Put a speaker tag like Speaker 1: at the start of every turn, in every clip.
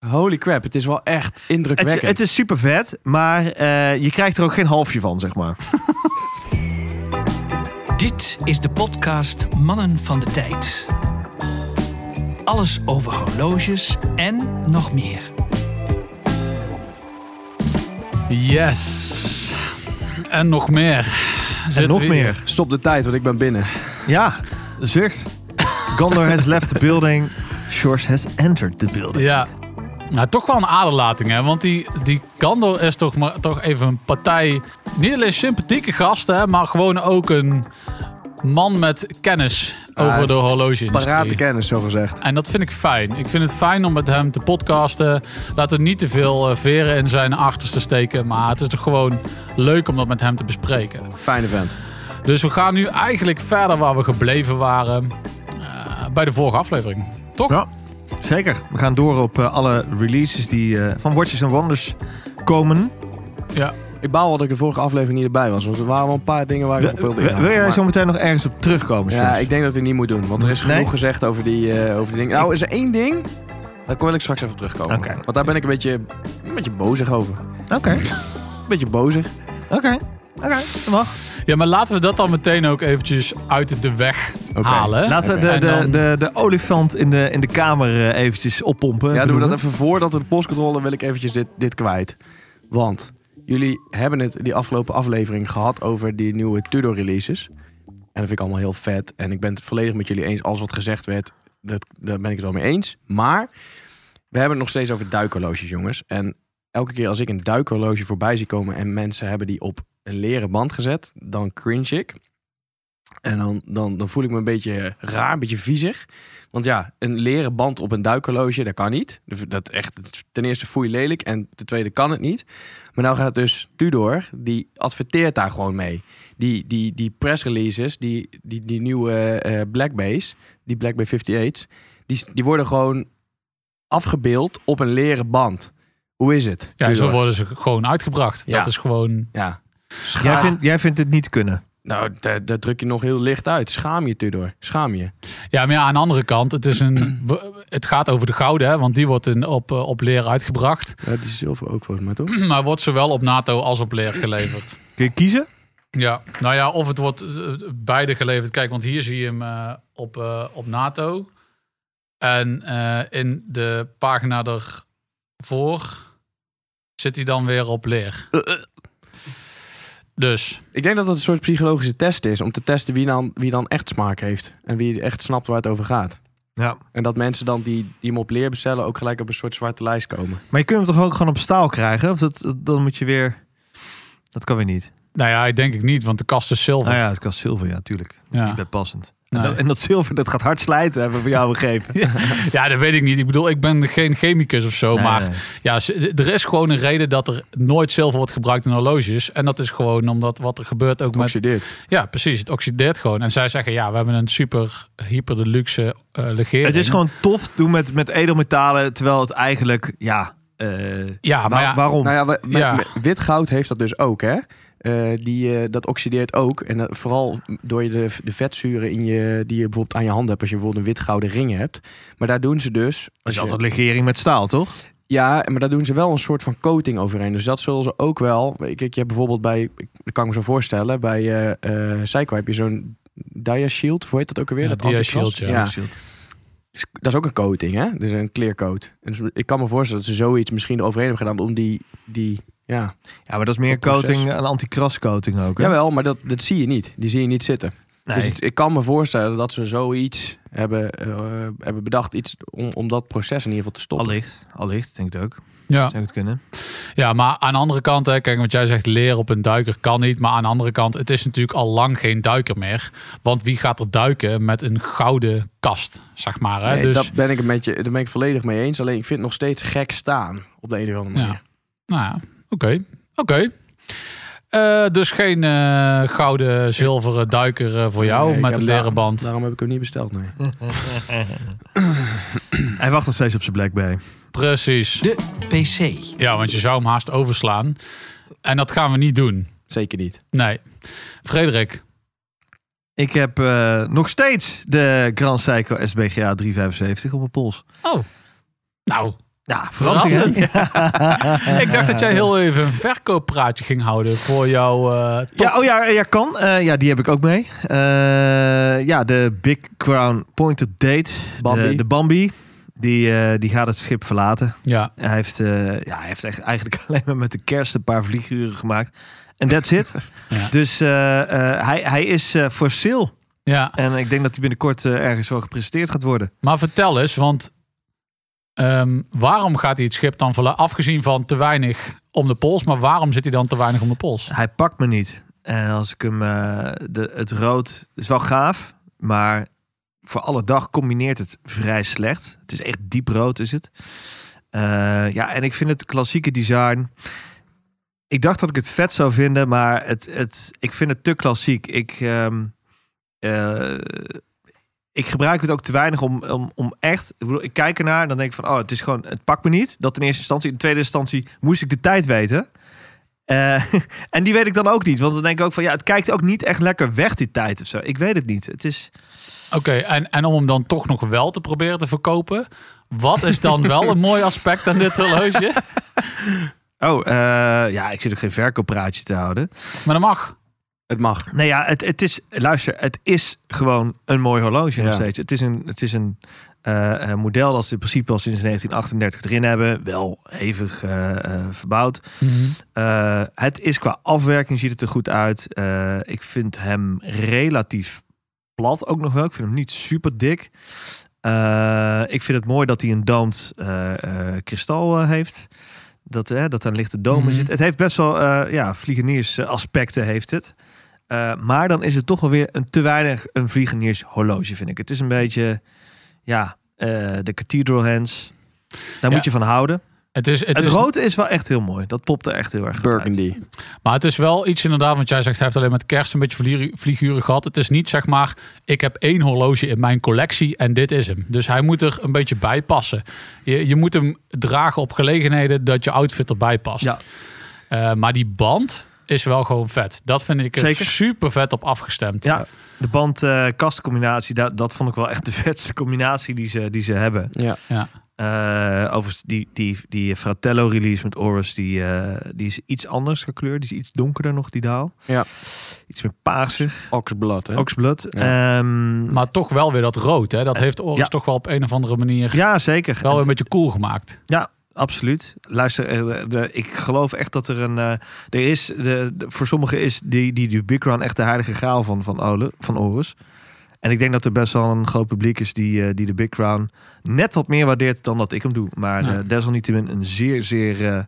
Speaker 1: Holy crap, het is wel echt
Speaker 2: Het,
Speaker 1: indrukwekkend.
Speaker 2: is- het is super vet, maar eh, je krijgt er ook geen halfje van, zeg maar.
Speaker 3: Dit is de podcast Mannen van de Tijd. Alles over horloges en nog meer.
Speaker 4: Yes. En nog meer. Zitten
Speaker 2: nog
Speaker 4: we-
Speaker 2: meer.
Speaker 1: Stop de tijd, want ik ben binnen.
Speaker 2: Ja, zucht. Gondor has left the building. Shores has entered the building.
Speaker 4: Ja. Nou, toch wel een aderlating, hè? Want die, die Gandor is toch, maar, toch even een partij. Niet alleen sympathieke gast, hè, maar gewoon ook een man met kennis
Speaker 1: hij
Speaker 4: over
Speaker 1: heeft
Speaker 4: de
Speaker 1: Parate
Speaker 4: horloge-industrie.
Speaker 1: kennis, zo gezegd.
Speaker 4: En dat vind ik fijn. Ik vind het fijn om met hem te podcasten. Laten we niet te veel eh, veren in zijn achterste steken. Maar het is toch gewoon leuk om dat met hem te bespreken.
Speaker 1: Fijne vent.
Speaker 4: Dus we gaan nu eigenlijk verder waar we gebleven waren. eh, bij de vorige aflevering. Toch?
Speaker 2: Ja, zeker. We gaan door op eh, alle releases die eh, van Watches and Wonders komen.
Speaker 1: Ik baal dat ik de vorige aflevering niet erbij was, want er waren wel een paar dingen waar ik op
Speaker 2: Wil,
Speaker 1: wilde
Speaker 2: wil-
Speaker 1: ingaan.
Speaker 2: wil jij
Speaker 1: Maar-
Speaker 2: zo meteen nog ergens op terugkomen?
Speaker 1: Ja,
Speaker 2: Sjors?
Speaker 1: ik denk dat hij niet moet doen, want er is
Speaker 2: Nee?
Speaker 1: genoeg gezegd over die, eh, over die dingen. Nou, is er één ding, daar wil ik straks even op terugkomen.
Speaker 2: Oké.
Speaker 1: Want daar ben ik een beetje, een beetje bozig over.
Speaker 2: Oké,
Speaker 1: Een beetje bozig.
Speaker 2: oké. Oké, dat mag.
Speaker 4: Ja, maar laten we dat dan meteen ook eventjes uit de weg
Speaker 1: Oké.
Speaker 4: halen.
Speaker 2: Laten we
Speaker 4: En
Speaker 2: de, de,
Speaker 4: dan-
Speaker 2: de, de olifant in de, in de kamer eh, eventjes oppompen.
Speaker 1: Ja, doen we
Speaker 2: benoemen.
Speaker 1: dat even voordat we de postcontrole wil ik eventjes dit, dit kwijt. Want jullie hebben het die afgelopen aflevering gehad over die nieuwe Tudor releases. En dat vind ik allemaal heel vet. En ik ben het volledig met jullie eens. Alles wat gezegd werd, dat, daar ben ik het wel mee eens. Maar we hebben het nog steeds over duikhorloges, jongens. En elke keer als ik een duikhorloge voorbij zie komen en mensen hebben die op een leren band gezet, dan cringe ik. En dan, dan, dan voel ik me een beetje raar, een beetje viezig. Want ja, een leren band op een duikhorloge, dat kan niet. Dat echt, ten eerste voel je lelijk en ten tweede kan het niet. Maar nou gaat dus Tudor, die adverteert daar gewoon mee. Die, die, die pressreleases, die, die, die nieuwe eh, Black Base, die Black Bay 58's, die, die worden gewoon afgebeeld op een leren band. Hoe is het?
Speaker 4: Ja, zo
Speaker 1: Tudor?
Speaker 4: worden ze gewoon uitgebracht.
Speaker 1: Ja.
Speaker 4: Dat is gewoon...
Speaker 1: Ja.
Speaker 2: Jij,
Speaker 1: Schaam.
Speaker 2: vindt, jij vindt het niet kunnen.
Speaker 1: Nou, daar, daar druk je nog heel licht uit. Schaam je, Tudor. Schaam je.
Speaker 4: Ja, maar ja, aan de andere kant, het, is een... we- het gaat over de gouden, hè, want die wordt in, op, eh, op leer uitgebracht.
Speaker 1: Ja, die zilver ook volgens mij, toch?
Speaker 4: Maar wordt zowel op NATO als op leer geleverd.
Speaker 2: Kun je kiezen?
Speaker 4: Ja, nou ja, of het wordt eh, beide geleverd. Kijk, want hier zie je hem eh, op, eh, op NATO. En eh, in de pagina ervoor zit hij dan weer op leer. Dus,
Speaker 1: Ik denk dat dat een soort psychologische test is. Om te testen wie dan, wie dan echt smaak heeft. En wie echt snapt waar het over gaat.
Speaker 2: Ja.
Speaker 1: En dat mensen dan die, die hem op leer bestellen ook gelijk op een soort zwarte lijst komen.
Speaker 2: Maar je kunt hem toch ook gewoon op staal krijgen? Of dat, dat- dan moet je weer... Dat kan weer niet.
Speaker 4: nou ja, ik denk ik niet, want de kast is zilver.
Speaker 2: Nou ja, het kan zilver, ja, tuurlijk. Dat is
Speaker 4: Ja.
Speaker 2: niet bij passend.
Speaker 4: Nee.
Speaker 2: En, dat, en dat zilver, dat gaat hard slijten, hebben we jou gegeven.
Speaker 4: Ja, dat weet ik niet. Ik bedoel, ik ben geen chemicus of zo.
Speaker 2: Nee,
Speaker 4: maar
Speaker 2: nee.
Speaker 4: ja, z- er is gewoon een reden dat er nooit zilver wordt gebruikt in horloges. En dat is gewoon omdat wat er gebeurt ook met
Speaker 1: Oxideert.
Speaker 4: Ja, precies. Het oxideert gewoon. En zij zeggen, ja, we hebben een super hyper deluxe eh legering.
Speaker 2: Het is gewoon tof te doen met, met edelmetalen, terwijl het eigenlijk, ja... eh,
Speaker 4: Ja, maar
Speaker 2: waar-
Speaker 4: ja,
Speaker 2: waarom?
Speaker 1: Nou ja, we- met-
Speaker 4: Ja.
Speaker 1: met- wit goud heeft dat dus ook, hè? Eh, die, eh, dat oxideert ook. En dat- vooral door je de, de vetzuren in je, die je bijvoorbeeld aan je hand hebt. Als je bijvoorbeeld een wit gouden ring hebt. Maar daar doen ze dus...
Speaker 2: dat is
Speaker 1: je-
Speaker 2: altijd legering met staal, toch?
Speaker 1: Ja, maar daar doen ze wel een soort van coating overheen. Dus dat zullen ze ook wel. Kijk, je hebt bijvoorbeeld bij, dat kan ik me zo voorstellen, bij eh eh Seiko heb je zo'n Dia Shield, hoe heet dat ook alweer?
Speaker 4: Ja,
Speaker 1: dat
Speaker 4: Dia
Speaker 1: antikras?
Speaker 4: Shield, ja.
Speaker 1: ja. Dus Dat is ook een coating, hè? Dus een kleercoat. En dus ik kan me voorstellen dat ze zoiets misschien eroverheen hebben gedaan om die, die ja.
Speaker 2: Ja, maar dat is meer
Speaker 1: Dat proces.
Speaker 2: coating, een anti-krascoating ook. Hè?
Speaker 1: Jawel, maar dat, dat zie je niet. Die zie je niet zitten.
Speaker 2: Nee.
Speaker 1: Dus het- ik kan me voorstellen dat ze zoiets hebben, eh, hebben bedacht iets om, om dat proces in ieder geval te stoppen.
Speaker 2: allicht, allicht, denk ik ook.
Speaker 4: ja.
Speaker 2: Zou het kunnen?
Speaker 4: ja, maar aan de andere kant, hè, kijk, want jij zegt leren op een duiker kan niet. Maar aan de andere kant, het is natuurlijk al lang geen duiker meer. Want wie gaat er duiken met een gouden kast, zeg maar. Hè?
Speaker 1: Nee,
Speaker 4: dus,
Speaker 1: dat ben ik een beetje, daar ben ik volledig mee eens. Alleen ik vind het nog steeds gek staan op de een of andere
Speaker 4: Ja.
Speaker 1: manier.
Speaker 4: Nou ja, oké. Oké. Eh, dus geen eh, gouden, zilveren duiker eh, voor jou
Speaker 1: Nee, ik
Speaker 4: met
Speaker 1: heb
Speaker 4: een
Speaker 1: daarom-
Speaker 4: leren band.
Speaker 1: Daarom heb ik hem niet besteld, nee.
Speaker 2: Hij wacht nog steeds op zijn Black Bay.
Speaker 4: Precies.
Speaker 3: De PC.
Speaker 4: Ja, want je zou hem haast overslaan. En dat gaan we niet doen.
Speaker 1: Zeker niet.
Speaker 4: Nee. Frederik,
Speaker 2: Ik heb eh, nog steeds de Grand Seiko SBGA 375 op mijn pols.
Speaker 4: Nou,
Speaker 2: Ja, verrassend.
Speaker 4: Verrassend.
Speaker 2: Eh,
Speaker 4: Ik dacht dat jij heel even een verkooppraatje ging houden voor jouw eh, top.
Speaker 2: Ja, oh ja, ja kan. Eh, ja, die heb ik ook mee. Eh, ja, de Big Crown Pointer Date.
Speaker 1: Bambi.
Speaker 2: De, de Bambi. Die, eh, die gaat het schip verlaten.
Speaker 4: Ja.
Speaker 2: Hij heeft, eh, ja, hij heeft echt eigenlijk alleen maar met de kerst een paar vlieguren gemaakt. En that's it.
Speaker 4: Ja.
Speaker 2: Dus eh, eh, hij, hij is eh, voor sale.
Speaker 4: ja,
Speaker 2: En ik denk dat hij binnenkort eh, ergens wel gepresenteerd gaat worden.
Speaker 4: maar vertel eens, want ehm, waarom gaat hij het schip dan verla- Afgezien van te weinig om de pols, maar waarom zit hij dan te weinig om de pols?
Speaker 2: Hij pakt me niet. En als ik hem... eh, de, het rood is wel gaaf, maar voor alle dag combineert het vrij slecht. Het is echt diep rood is het. Eh, ja, en ik vind het klassieke design... Ik dacht dat ik het vet zou vinden, maar het, het, ik vind het te klassiek. Ik, ehm, eh, ik gebruik het ook te weinig om, om, om echt... Ik, bedoel, ik kijk ernaar en dan denk ik van... Oh, het is gewoon... Het pakt me niet. Dat in eerste instantie. In tweede instantie moest ik de tijd weten. Eh, en die weet ik dan ook niet. Want dan denk ik ook van... Ja, het kijkt ook niet echt lekker weg die tijd of zo. Ik weet het niet. Het is...
Speaker 4: Oké, en, en om hem dan toch nog wel te proberen te verkopen, wat is dan wel een mooi aspect aan dit horloge?
Speaker 2: Oh, eh, ja, ik zit ook geen verkooppraatje te houden.
Speaker 4: Maar dat mag.
Speaker 1: Het mag.
Speaker 2: Nou ja, het, het is... Luister, het is gewoon een mooi horloge nog
Speaker 1: Ja.
Speaker 2: steeds. Het is een... Het is een eh, een model dat ze in principe al sinds 1938 erin hebben. Wel hevig eh, eh, verbouwd. Eh, het is qua afwerking ziet het er goed uit. Eh, ik vind hem relatief plat ook nog wel. Ik vind hem niet super dik. Eh, ik vind het mooi dat hij een doomd eh, eh, kristal eh, heeft. Dat, eh, dat daar een lichte dome
Speaker 4: Mhm.
Speaker 2: zit. Het heeft best wel eh ja, vliegeniers eh, aspecten heeft het. Eh, maar dan is het toch wel weer een te weinig een vliegeniers horloge vind ik. Het is een beetje ja, eh, de cathedral hands. Daar
Speaker 4: Ja.
Speaker 2: moet je van houden.
Speaker 4: Het, is, het,
Speaker 2: Het,
Speaker 4: is,
Speaker 2: rood is wel echt heel mooi. Dat popt er echt heel erg goed uit.
Speaker 1: Burgundy.
Speaker 4: Maar het is wel iets inderdaad, want jij zegt hij heeft alleen met kerst een beetje vlie- vlieguren gehad. Het is niet zeg maar, ik heb één horloge in mijn collectie en dit is hem. Dus hij moet er een beetje bij passen. Je, je moet hem dragen op gelegenheden dat je outfit erbij past.
Speaker 2: Ja.
Speaker 4: Eh, maar die band is wel gewoon vet. Dat vind ik er
Speaker 2: Zeker.
Speaker 4: super vet op afgestemd.
Speaker 2: Ja, de band-kastcombinatie, dat, dat vond ik wel echt de vetste combinatie die ze, die ze hebben.
Speaker 1: Ja.
Speaker 4: Ja.
Speaker 2: Eh overigens, die, die, die Fratello-release met Oris, die, eh, die is iets anders qua kleur. Die is iets donkerder nog, die daal.
Speaker 1: Ja.
Speaker 2: Iets meer paarser,
Speaker 1: Oxblad, hè?
Speaker 2: oxblood. Ehm,
Speaker 4: Maar toch wel weer dat rood. Hè? Dat heeft Oris
Speaker 2: Eh, ja.
Speaker 4: toch wel op een of andere manier
Speaker 2: ja, zeker.
Speaker 4: wel weer een beetje cool gemaakt.
Speaker 2: Ja, absoluut. Luister, eh, de- de- ik geloof echt dat er een... eh, er is, de, de- voor sommigen is die, die, die Big Run echt de heilige graal van, van, Ole, van Horus. En ik denk dat er best wel een groot publiek is die, eh, die de Big Crown net wat meer waardeert dan dat ik hem doe. Maar
Speaker 4: Ja.
Speaker 2: eh, desalniettemin een zeer, zeer eh,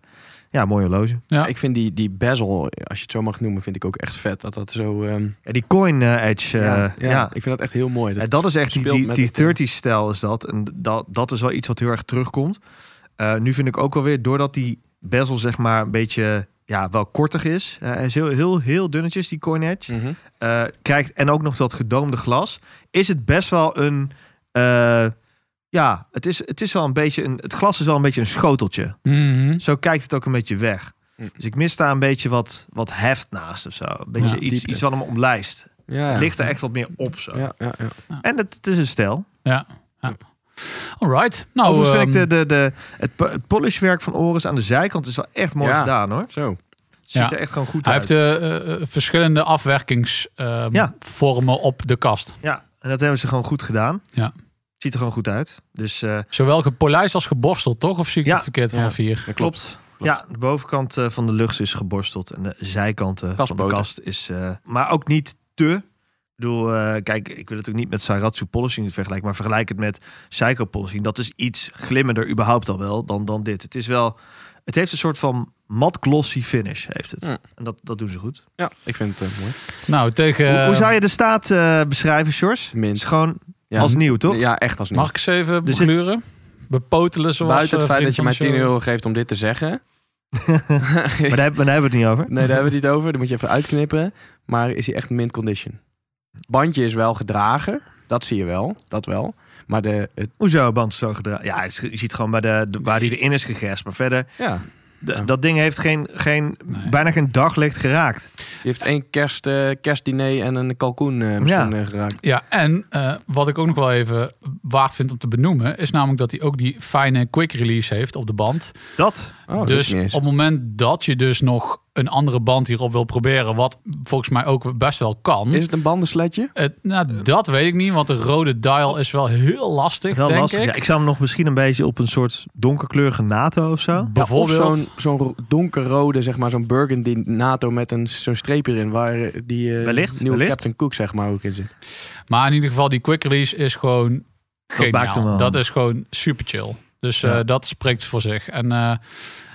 Speaker 2: ja, mooi horloge.
Speaker 4: Ja.
Speaker 1: Ik vind die, die bezel, als je het zo mag noemen, vind ik ook echt vet. Dat dat zo... ehm,
Speaker 2: En die Coin eh, Edge, eh, ja,
Speaker 1: Ik vind dat echt heel mooi.
Speaker 2: En dat is echt die,
Speaker 1: speelt
Speaker 2: die,
Speaker 1: met
Speaker 2: die
Speaker 1: het, eh,
Speaker 2: 30-stijl is dat. En dat, dat is wel iets wat heel erg terugkomt. Eh, nu vind ik ook wel weer, doordat die bezel zeg maar een beetje, ja, wel kortig is. eh, hij is heel, heel, heel dunnetjes, die coin edge.
Speaker 1: Mhm.
Speaker 2: Eh, kijkt, en ook nog dat gedoomde glas. Is het best wel een, eh, ja, het is, het is wel een beetje, een, het glas is wel een beetje een schoteltje.
Speaker 4: Mhm.
Speaker 2: Zo kijkt het ook een beetje weg.
Speaker 1: Mm.
Speaker 2: Dus ik mis daar een beetje wat, wat heft naast of zo. Een beetje
Speaker 4: Ja,
Speaker 2: iets,
Speaker 1: diepte.
Speaker 2: iets wat hem omlijst.
Speaker 1: Ja, ja.
Speaker 2: Het ligt er echt wat meer op zo.
Speaker 1: Ja, ja, ja.
Speaker 2: En het, het is een stijl.
Speaker 4: Alright. Nou,
Speaker 2: Overigens vind
Speaker 4: ehm,
Speaker 2: ik de, de, de, het, po- het polishwerk van Oris aan de zijkant is wel echt mooi
Speaker 1: Ja.
Speaker 2: gedaan hoor.
Speaker 1: Zo.
Speaker 2: Ziet
Speaker 4: Ja.
Speaker 2: er echt gewoon goed
Speaker 4: Hij
Speaker 2: uit.
Speaker 4: heeft eh, eh, verschillende afwerkingsvormen
Speaker 2: Ja.
Speaker 4: op de kast.
Speaker 2: Ja, en dat hebben ze gewoon goed gedaan.
Speaker 4: eh, Ja.
Speaker 2: Ziet er gewoon goed uit. Dus eh,
Speaker 4: Zowel gepolijst als geborsteld, toch? Of zie ik
Speaker 2: Ja.
Speaker 4: het verkeerd
Speaker 1: Ja.
Speaker 4: vanaf hier?
Speaker 1: Dat klopt.
Speaker 2: ja, de bovenkant eh, van de lucht is geborsteld en de zijkanten van de
Speaker 1: Kastboten.
Speaker 2: kast is. eh, maar ook niet te. Ik bedoel, eh, kijk, ik wil het ook niet met Sairatsu Polishing vergelijken, maar vergelijk het met Psycho Polishing. Dat is iets glimmender überhaupt al wel dan, dan dit. Het is wel, het heeft een soort van mat glossy finish heeft het.
Speaker 1: Ja.
Speaker 2: En dat, dat doen ze goed.
Speaker 1: Ja, ik vind het eh, mooi.
Speaker 4: Nou, tegen...
Speaker 1: Ehm,
Speaker 2: Hoe, hoe zou je de staat eh, beschrijven, Sjors?
Speaker 1: Mint.
Speaker 2: Is gewoon
Speaker 1: Ja,
Speaker 2: als nieuw, toch?
Speaker 1: Ja, echt als nieuw.
Speaker 4: eh, Mag ik ze even
Speaker 2: Er zit-
Speaker 4: begluren? Bepotelen zoals...
Speaker 1: Buiten het
Speaker 4: eh,
Speaker 1: feit dat je mij
Speaker 4: vriend
Speaker 1: 10
Speaker 4: van de show-
Speaker 1: euro geeft om dit te zeggen.
Speaker 2: Maar daar, heb- maar daar hebben we het niet over.
Speaker 1: Nee, daar hebben we het niet over. Dan moet je even uitknipperen. Maar is hij echt mint condition? Bandje is wel gedragen. Dat zie je wel. Dat wel. Maar de... Het,
Speaker 2: Hoezo, band is zo gedraaid? Ja, het is- je ziet gewoon bij de, de- waar hij erin is gegest. Maar verder,
Speaker 1: ja.
Speaker 2: D-
Speaker 1: Ja.
Speaker 2: Dat ding heeft geen, geen,
Speaker 4: Nee.
Speaker 2: bijna geen daglicht geraakt.
Speaker 1: Je heeft één kerst, eh, kerstdiner en een kalkoen eh, misschien eh, geraakt.
Speaker 4: Ja, en eh, wat ik ook nog wel even waard vind om te benoemen, is namelijk dat hij ook die fijne quick release heeft op de band.
Speaker 2: Dat,
Speaker 1: Oh, dat wist
Speaker 4: dus
Speaker 1: ik niet
Speaker 4: op
Speaker 1: eens.
Speaker 4: het moment dat je dus nog een andere band hierop wil proberen, wat volgens mij ook best wel kan.
Speaker 1: Is het een bandensletje?
Speaker 4: het, nou, dat weet ik niet, want de rode dial is wel heel lastig,
Speaker 2: wel
Speaker 4: denk
Speaker 2: lastig.
Speaker 4: ik.
Speaker 2: Ja, ik zou hem nog misschien een beetje op een soort donkerkleurige NATO of zo.
Speaker 1: Ja, of
Speaker 4: Bijvoorbeeld.
Speaker 1: zo'n zo'n ro- donkerrode, zeg maar, zo'n burgundy NATO met een, zo'n streep erin waar eh, die eh,
Speaker 2: Wellicht,
Speaker 1: nieuwe
Speaker 2: wellicht.
Speaker 1: Captain Cook zeg maar ook in zit.
Speaker 4: Maar in ieder geval, die quick release is gewoon
Speaker 2: maakt hem wel.
Speaker 4: geniaal. Dat is gewoon super chill. Dus eh,
Speaker 2: Ja.
Speaker 4: dat spreekt voor zich. En eh,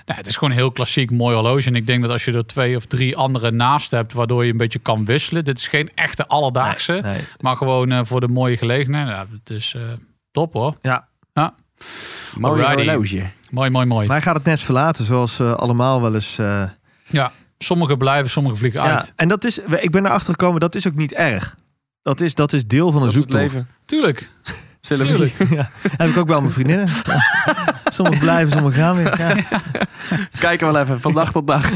Speaker 4: nou, het is gewoon een heel klassiek mooi horloge. En ik denk dat als je er twee of drie andere naast hebt, waardoor je een beetje kan wisselen. Dit is geen echte alledaagse,
Speaker 2: Nee.
Speaker 4: maar gewoon eh, voor de mooie gelegenheid. Nou, het is eh, top hoor.
Speaker 2: Ja.
Speaker 1: Mooi
Speaker 4: Alrighty.
Speaker 1: horloge.
Speaker 4: Mooi, mooi, mooi.
Speaker 2: Maar hij gaat het nest verlaten, zoals eh, allemaal wel eens. eh,
Speaker 4: Ja, sommige blijven, sommige vliegen
Speaker 2: ja.
Speaker 4: uit.
Speaker 2: En dat is, ik ben erachter gekomen, dat is ook niet erg. Dat is, dat is deel van een
Speaker 1: Dat is het
Speaker 2: zoektocht.
Speaker 1: leven.
Speaker 4: Tuurlijk.
Speaker 1: Zullen we-
Speaker 4: Tuurlijk.
Speaker 2: Ja, heb ik ook bij mijn vriendinnen. Sommigen blijven, sommigen gaan weer. Ja.
Speaker 1: Kijken we wel even, van dag tot dag.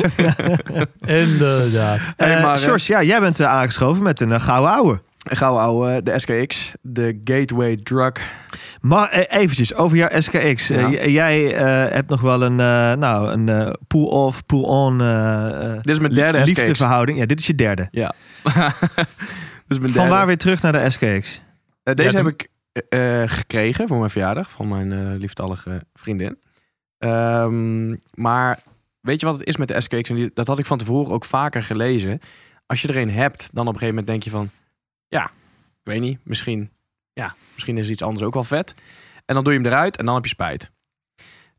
Speaker 4: Inderdaad.
Speaker 1: Hey,
Speaker 2: Eh,
Speaker 1: maar, eh,
Speaker 2: Sjors, ja, jij bent eh, aangeschoven met een eh, gouden ouwe.
Speaker 1: Een Gouden ouwe, de SKX, de Gateway Drug.
Speaker 2: Maar eh, eventjes over jouw SKX. Eh,
Speaker 1: Ja.
Speaker 2: j- jij eh, hebt nog wel een, eh, nou, een eh, pull-off, pull-on eh, eh,
Speaker 1: Dit is mijn derde SKX.
Speaker 2: liefdeverhouding. Ja, dit is je derde.
Speaker 1: Dit is mijn
Speaker 2: Van
Speaker 1: derde.
Speaker 2: waar weer terug naar de SKX.
Speaker 1: Eh, deze
Speaker 4: Ja,
Speaker 1: heb ik eh, eh, gekregen voor mijn verjaardag van mijn eh lieftallige vriendin. Ehm, maar weet je wat het is met de SKX? En die- dat had ik van tevoren ook vaker gelezen. Als je er een hebt, dan op een gegeven moment denk je van... Ja, ik weet niet, misschien, ja, misschien is iets anders ook wel vet. En dan doe je hem eruit en dan heb je spijt.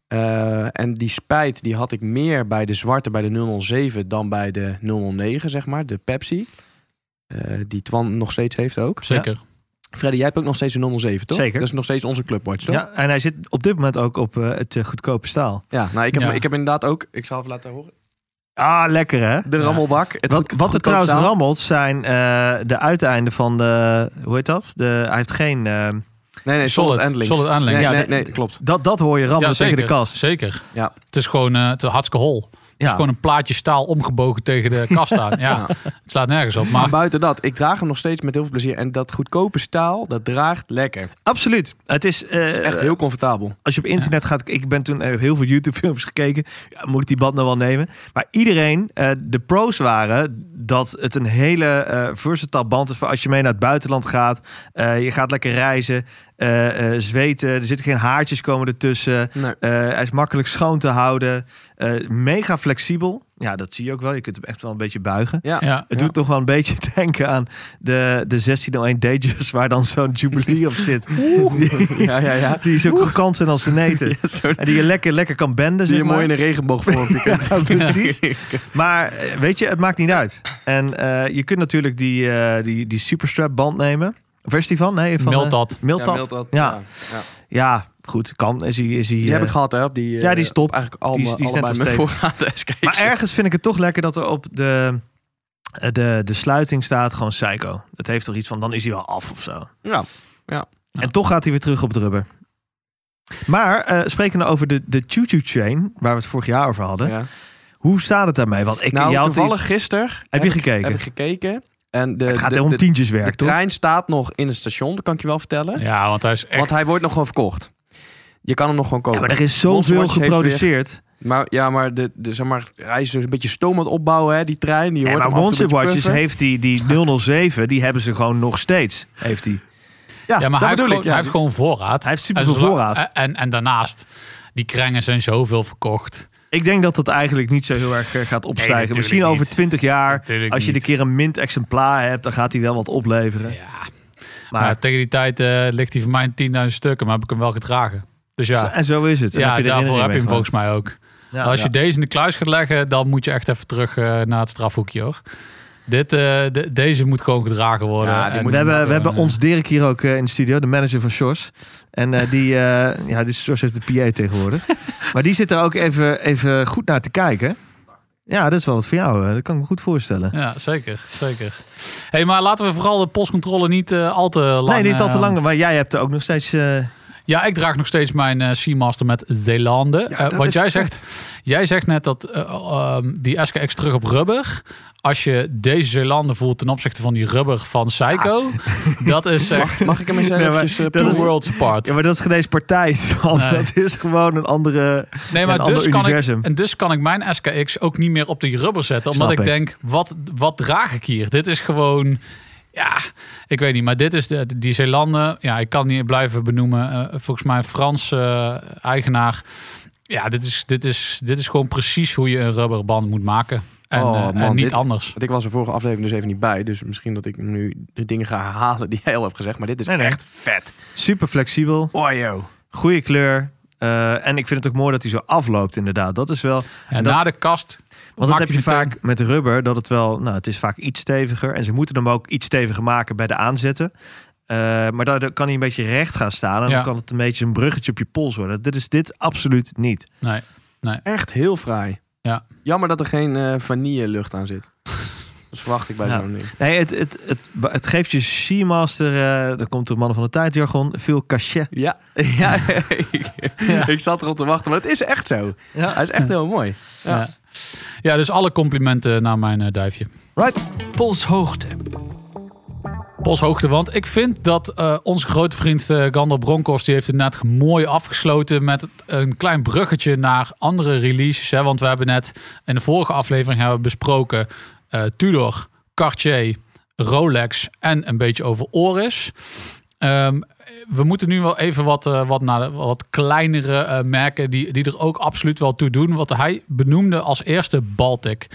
Speaker 1: Eh, en die spijt die had ik meer bij de zwarte, bij de 007... dan bij de 009, zeg maar, de Pepsi. Eh, die Twan nog steeds heeft ook.
Speaker 4: Zeker.
Speaker 1: Freddy, jij hebt ook nog steeds een 007, toch?
Speaker 2: Zeker.
Speaker 1: Dat is nog steeds onze clubwatch, toch?
Speaker 2: Ja, en hij zit op dit moment ook op eh, het eh, goedkope staal.
Speaker 1: Ja, nou, ik heb,
Speaker 4: Ja.
Speaker 1: ik heb inderdaad ook... Ik zal even laten horen.
Speaker 2: Ah, lekker hè?
Speaker 1: De
Speaker 4: Ja.
Speaker 1: rammelbak. Het
Speaker 2: Wat,
Speaker 1: goed-
Speaker 2: wat er
Speaker 1: goedkoop
Speaker 2: trouwens
Speaker 1: staal.
Speaker 2: rammelt zijn eh, de uiteinden van de... Hoe heet dat? De, hij heeft geen... eh,
Speaker 1: Nee, nee, solid,
Speaker 4: Solid-
Speaker 1: endlings.
Speaker 4: solid endlings.
Speaker 1: Nee,
Speaker 2: Ja,
Speaker 1: nee,
Speaker 2: nee.
Speaker 1: nee, klopt.
Speaker 2: dat, dat hoor je rammelen tegen de kast.
Speaker 4: Zeker.
Speaker 1: Ja.
Speaker 4: Het is gewoon eh, het is hartstikke hol. Het is
Speaker 2: Ja.
Speaker 4: gewoon een plaatje staal omgebogen tegen de kast aan. Ja,
Speaker 1: Ja.
Speaker 4: het slaat nergens op.
Speaker 1: Maar
Speaker 4: Maar
Speaker 1: buiten dat, ik draag hem nog steeds met heel veel plezier. En dat goedkope staal, dat draagt lekker. Het
Speaker 2: Absoluut. Het is, eh,
Speaker 1: is echt heel comfortabel.
Speaker 2: Als je op internet gaat, ik ben toen eh, heel veel YouTube-films gekeken. Ja, moet ik die band nou wel nemen? Maar iedereen, eh, de pros waren dat het een hele eh versatile band is. voor Als je mee naar het buitenland gaat, eh, je gaat lekker reizen, eh, eh, zweten. Er zitten geen haartjes komen ertussen.
Speaker 1: Nee.
Speaker 2: Eh, hij is makkelijk schoon te houden. Eh, mega flexibel. Ja, dat zie je ook wel. Je kunt hem echt wel een beetje buigen.
Speaker 1: Ja.
Speaker 4: ja,
Speaker 2: Het doet toch wel een beetje denken aan de, de 1601 Datejust, waar dan zo'n jubilee op zit. Die,
Speaker 1: Ja, ja, ja.
Speaker 2: die zo krokant zijn als de neten. En die je lekker, lekker kan benden,
Speaker 1: Die
Speaker 2: zeg
Speaker 1: je
Speaker 2: maar.
Speaker 1: mooi in een regenboogvormpje kunt.
Speaker 2: Ja, precies. Maar eh, weet je, het maakt niet uit. En eh, je kunt natuurlijk die, eh, die, die superstrap band nemen. Of is die van? Nee, van... eh,
Speaker 4: meld dat.
Speaker 2: Miltat. Ja, Ja.
Speaker 1: Ja. Ja.
Speaker 2: goed, kan. Is hij... Is hij
Speaker 1: Die
Speaker 2: eh,
Speaker 1: heb ik gehad, hè. op Die, eh,
Speaker 2: Ja, die is top.
Speaker 1: Eigenlijk al,
Speaker 2: Die is- die is net
Speaker 1: allebei
Speaker 2: nog
Speaker 1: mijn
Speaker 2: steeds.
Speaker 1: voorraad SKX.
Speaker 2: maar ergens vind ik het toch lekker dat er op de, eh, de, de sluiting staat gewoon Psycho. Het heeft toch iets van, dan is hij wel af of zo.
Speaker 1: Ja.
Speaker 2: En toch gaat hij weer terug op het rubber. Maar eh sprekende over de, de Choo Choo Chain, waar we het vorig jaar over hadden.
Speaker 1: ja.
Speaker 2: Hoe staat het daarmee? Want ik,
Speaker 1: Nou,
Speaker 2: jij had die-
Speaker 1: toevallig gisteren
Speaker 2: heb je gekeken?
Speaker 1: heb ik gekeken. En de,
Speaker 2: het gaat
Speaker 1: de-
Speaker 2: er om
Speaker 1: de-
Speaker 2: tientjes
Speaker 1: De
Speaker 2: werk, toch?
Speaker 1: trein staat nog in het station, dat kan ik je wel vertellen.
Speaker 4: Ja, want hij is echt...
Speaker 1: Want hij wordt nog gewoon verkocht. Je kan hem nog gewoon
Speaker 2: Ja,
Speaker 1: kopen.
Speaker 2: maar er is
Speaker 1: Monster
Speaker 2: zoveel
Speaker 1: Watch heeft
Speaker 2: geproduceerd.
Speaker 1: Maar ja, maar, de, de, zeg maar hij is dus een beetje stoom aan het opbouwen, hè, die trein. Die
Speaker 2: Ja,
Speaker 1: hoort
Speaker 2: maar
Speaker 1: hem af en toe
Speaker 2: Monster
Speaker 1: een beetje
Speaker 2: Watches
Speaker 1: puffen.
Speaker 2: heeft die, die 007, die hebben ze gewoon nog steeds. Heeft die.
Speaker 1: Ja,
Speaker 4: ja, maar
Speaker 1: dat
Speaker 4: hij heeft,
Speaker 1: bedoel
Speaker 4: gewoon,
Speaker 1: ik.
Speaker 4: hij
Speaker 1: Ja,
Speaker 4: heeft gewoon voorraad.
Speaker 2: Hij heeft super
Speaker 4: En zolang-
Speaker 2: voorraad.
Speaker 4: En, en, daarnaast, die krengen zijn zoveel verkocht.
Speaker 2: Ik denk dat dat eigenlijk niet zo heel erg eh, gaat opstijgen.
Speaker 4: natuurlijk
Speaker 2: Misschien over
Speaker 4: niet.
Speaker 2: 20 jaar,
Speaker 4: Natuurlijk
Speaker 2: als je de
Speaker 4: niet.
Speaker 2: keer een mint exemplaar hebt, dan gaat hij wel wat opleveren.
Speaker 4: Ja. Maar,
Speaker 2: Maar,
Speaker 4: tegen die tijd eh, ligt hij voor mij in 10.000 stukken, maar heb ik hem wel gedragen. Dus ja,
Speaker 2: En zo is het. En
Speaker 4: ja
Speaker 2: heb je de
Speaker 4: daarvoor
Speaker 2: herinnering
Speaker 4: heb je hem
Speaker 2: mee
Speaker 4: volgens
Speaker 2: gemaakt.
Speaker 4: mij ook.
Speaker 2: Ja,
Speaker 4: als je
Speaker 2: ja.
Speaker 4: deze in de kluis gaat leggen, dan moet je echt even terug eh, naar het strafhoekje hoor. Dit, eh, de- deze moet gewoon gedragen worden.
Speaker 1: Ja, die
Speaker 4: En-
Speaker 1: moet-
Speaker 2: We hebben, we hebben
Speaker 4: eh,
Speaker 2: ons Dirk hier ook eh, in de studio, de manager van Sjors. En eh, die, eh ja, die Sjors heeft de PA tegenwoordig. maar die zit er ook even, even goed naar te kijken. Ja, dat is wel wat voor jou. eh, Dat kan ik me goed voorstellen.
Speaker 4: Ja, zeker. zeker. Hey, maar laten we vooral de postcontrole niet eh, al te lang...
Speaker 2: nee, niet al te
Speaker 4: eh,
Speaker 2: lang, maar jij hebt er ook nog steeds eh,
Speaker 4: Ja, ik draag nog steeds mijn eh, Seamaster met Zeelanden.
Speaker 1: Ja,
Speaker 4: Eh,
Speaker 1: dat
Speaker 4: want
Speaker 1: is
Speaker 4: jij
Speaker 1: vet.
Speaker 4: zegt, jij zegt net dat eh, ehm, die SKX terug op rubber. Als je deze Zeelanden voelt ten opzichte van die rubber van Psycho. Dat is echt
Speaker 1: Mag, mag ik hem eens
Speaker 2: Nee, maar
Speaker 1: eventjes eh,
Speaker 2: dat
Speaker 4: two
Speaker 2: is-
Speaker 1: proeven?
Speaker 4: worlds apart.
Speaker 2: Ja, maar dat is geen eens partij. Sam.
Speaker 4: Nee.
Speaker 2: Dat is gewoon een andere...
Speaker 4: nee, maar
Speaker 2: een
Speaker 4: dus
Speaker 2: ander
Speaker 4: kan ik,
Speaker 2: universum.
Speaker 4: en dus kan ik mijn SKX ook niet meer op die rubber zetten. Omdat
Speaker 1: Snap
Speaker 4: ik
Speaker 1: ik.
Speaker 4: denk, wat, wat draag ik hier? Dit is gewoon... Ja, ik weet niet, maar dit is de, die Zeelanden. Ja, ik kan niet blijven benoemen. Eh, volgens mij een Franse eh, eigenaar. Ja, dit is, dit, is, dit is gewoon precies hoe je een rubberband moet maken. En,
Speaker 1: Oh,
Speaker 4: eh, en
Speaker 1: man,
Speaker 4: niet
Speaker 1: dit-
Speaker 4: anders.
Speaker 1: Want ik was er vorige aflevering dus even niet bij. Dus misschien dat ik nu de dingen ga herhalen die jij al hebt gezegd. Maar dit is
Speaker 2: Nee, nee.
Speaker 1: echt vet.
Speaker 2: Super flexibel.
Speaker 1: Oh, joh.
Speaker 2: Goede kleur. Eh, en ik vind het ook mooi dat hij zo afloopt inderdaad. Dat is wel...
Speaker 4: En
Speaker 2: dat-
Speaker 4: na de kast.
Speaker 2: Want
Speaker 4: maakt
Speaker 2: dat heb je
Speaker 4: hij meteen-
Speaker 2: vaak met rubber, dat het wel, nou, het is vaak iets steviger. En ze moeten hem ook iets steviger maken bij de aanzetten. Eh, maar daardoor kan hij een beetje recht gaan staan. En
Speaker 4: Ja.
Speaker 2: dan kan het een beetje een bruggetje op je pols worden. Dit is dit absoluut niet.
Speaker 4: Nee.
Speaker 1: Echt heel fraai.
Speaker 4: Ja.
Speaker 1: Jammer dat er geen eh vanille lucht aan zit. Dat verwacht ik bij
Speaker 2: Ja.
Speaker 1: zo'n ding.
Speaker 2: Nee, het, het, het, het geeft je Seamaster, eh daar komt de mannen van de tijd jargon, veel cachet.
Speaker 1: Ja, ja, ik, ik zat erop te wachten. Maar het is echt zo. Hij is echt heel mooi.
Speaker 4: Ja. Ja. dus alle complimenten naar mijn eh, duifje.
Speaker 2: Right?
Speaker 3: polshoogte,
Speaker 4: Polshoogte, want ik vind dat eh onze grote vriend eh Gander Bronkhorst... die heeft het net mooi afgesloten met het- een klein bruggetje naar andere releases. Hè? Want we hebben net in de vorige aflevering hebben we besproken... eh, Tudor, Cartier, Rolex en een beetje over Oris. Ehm, we moeten nu wel even wat, eh, wat naar de, wat kleinere eh, merken... Die, die er ook absoluut wel toe doen. Wat hij benoemde als eerste Baltic.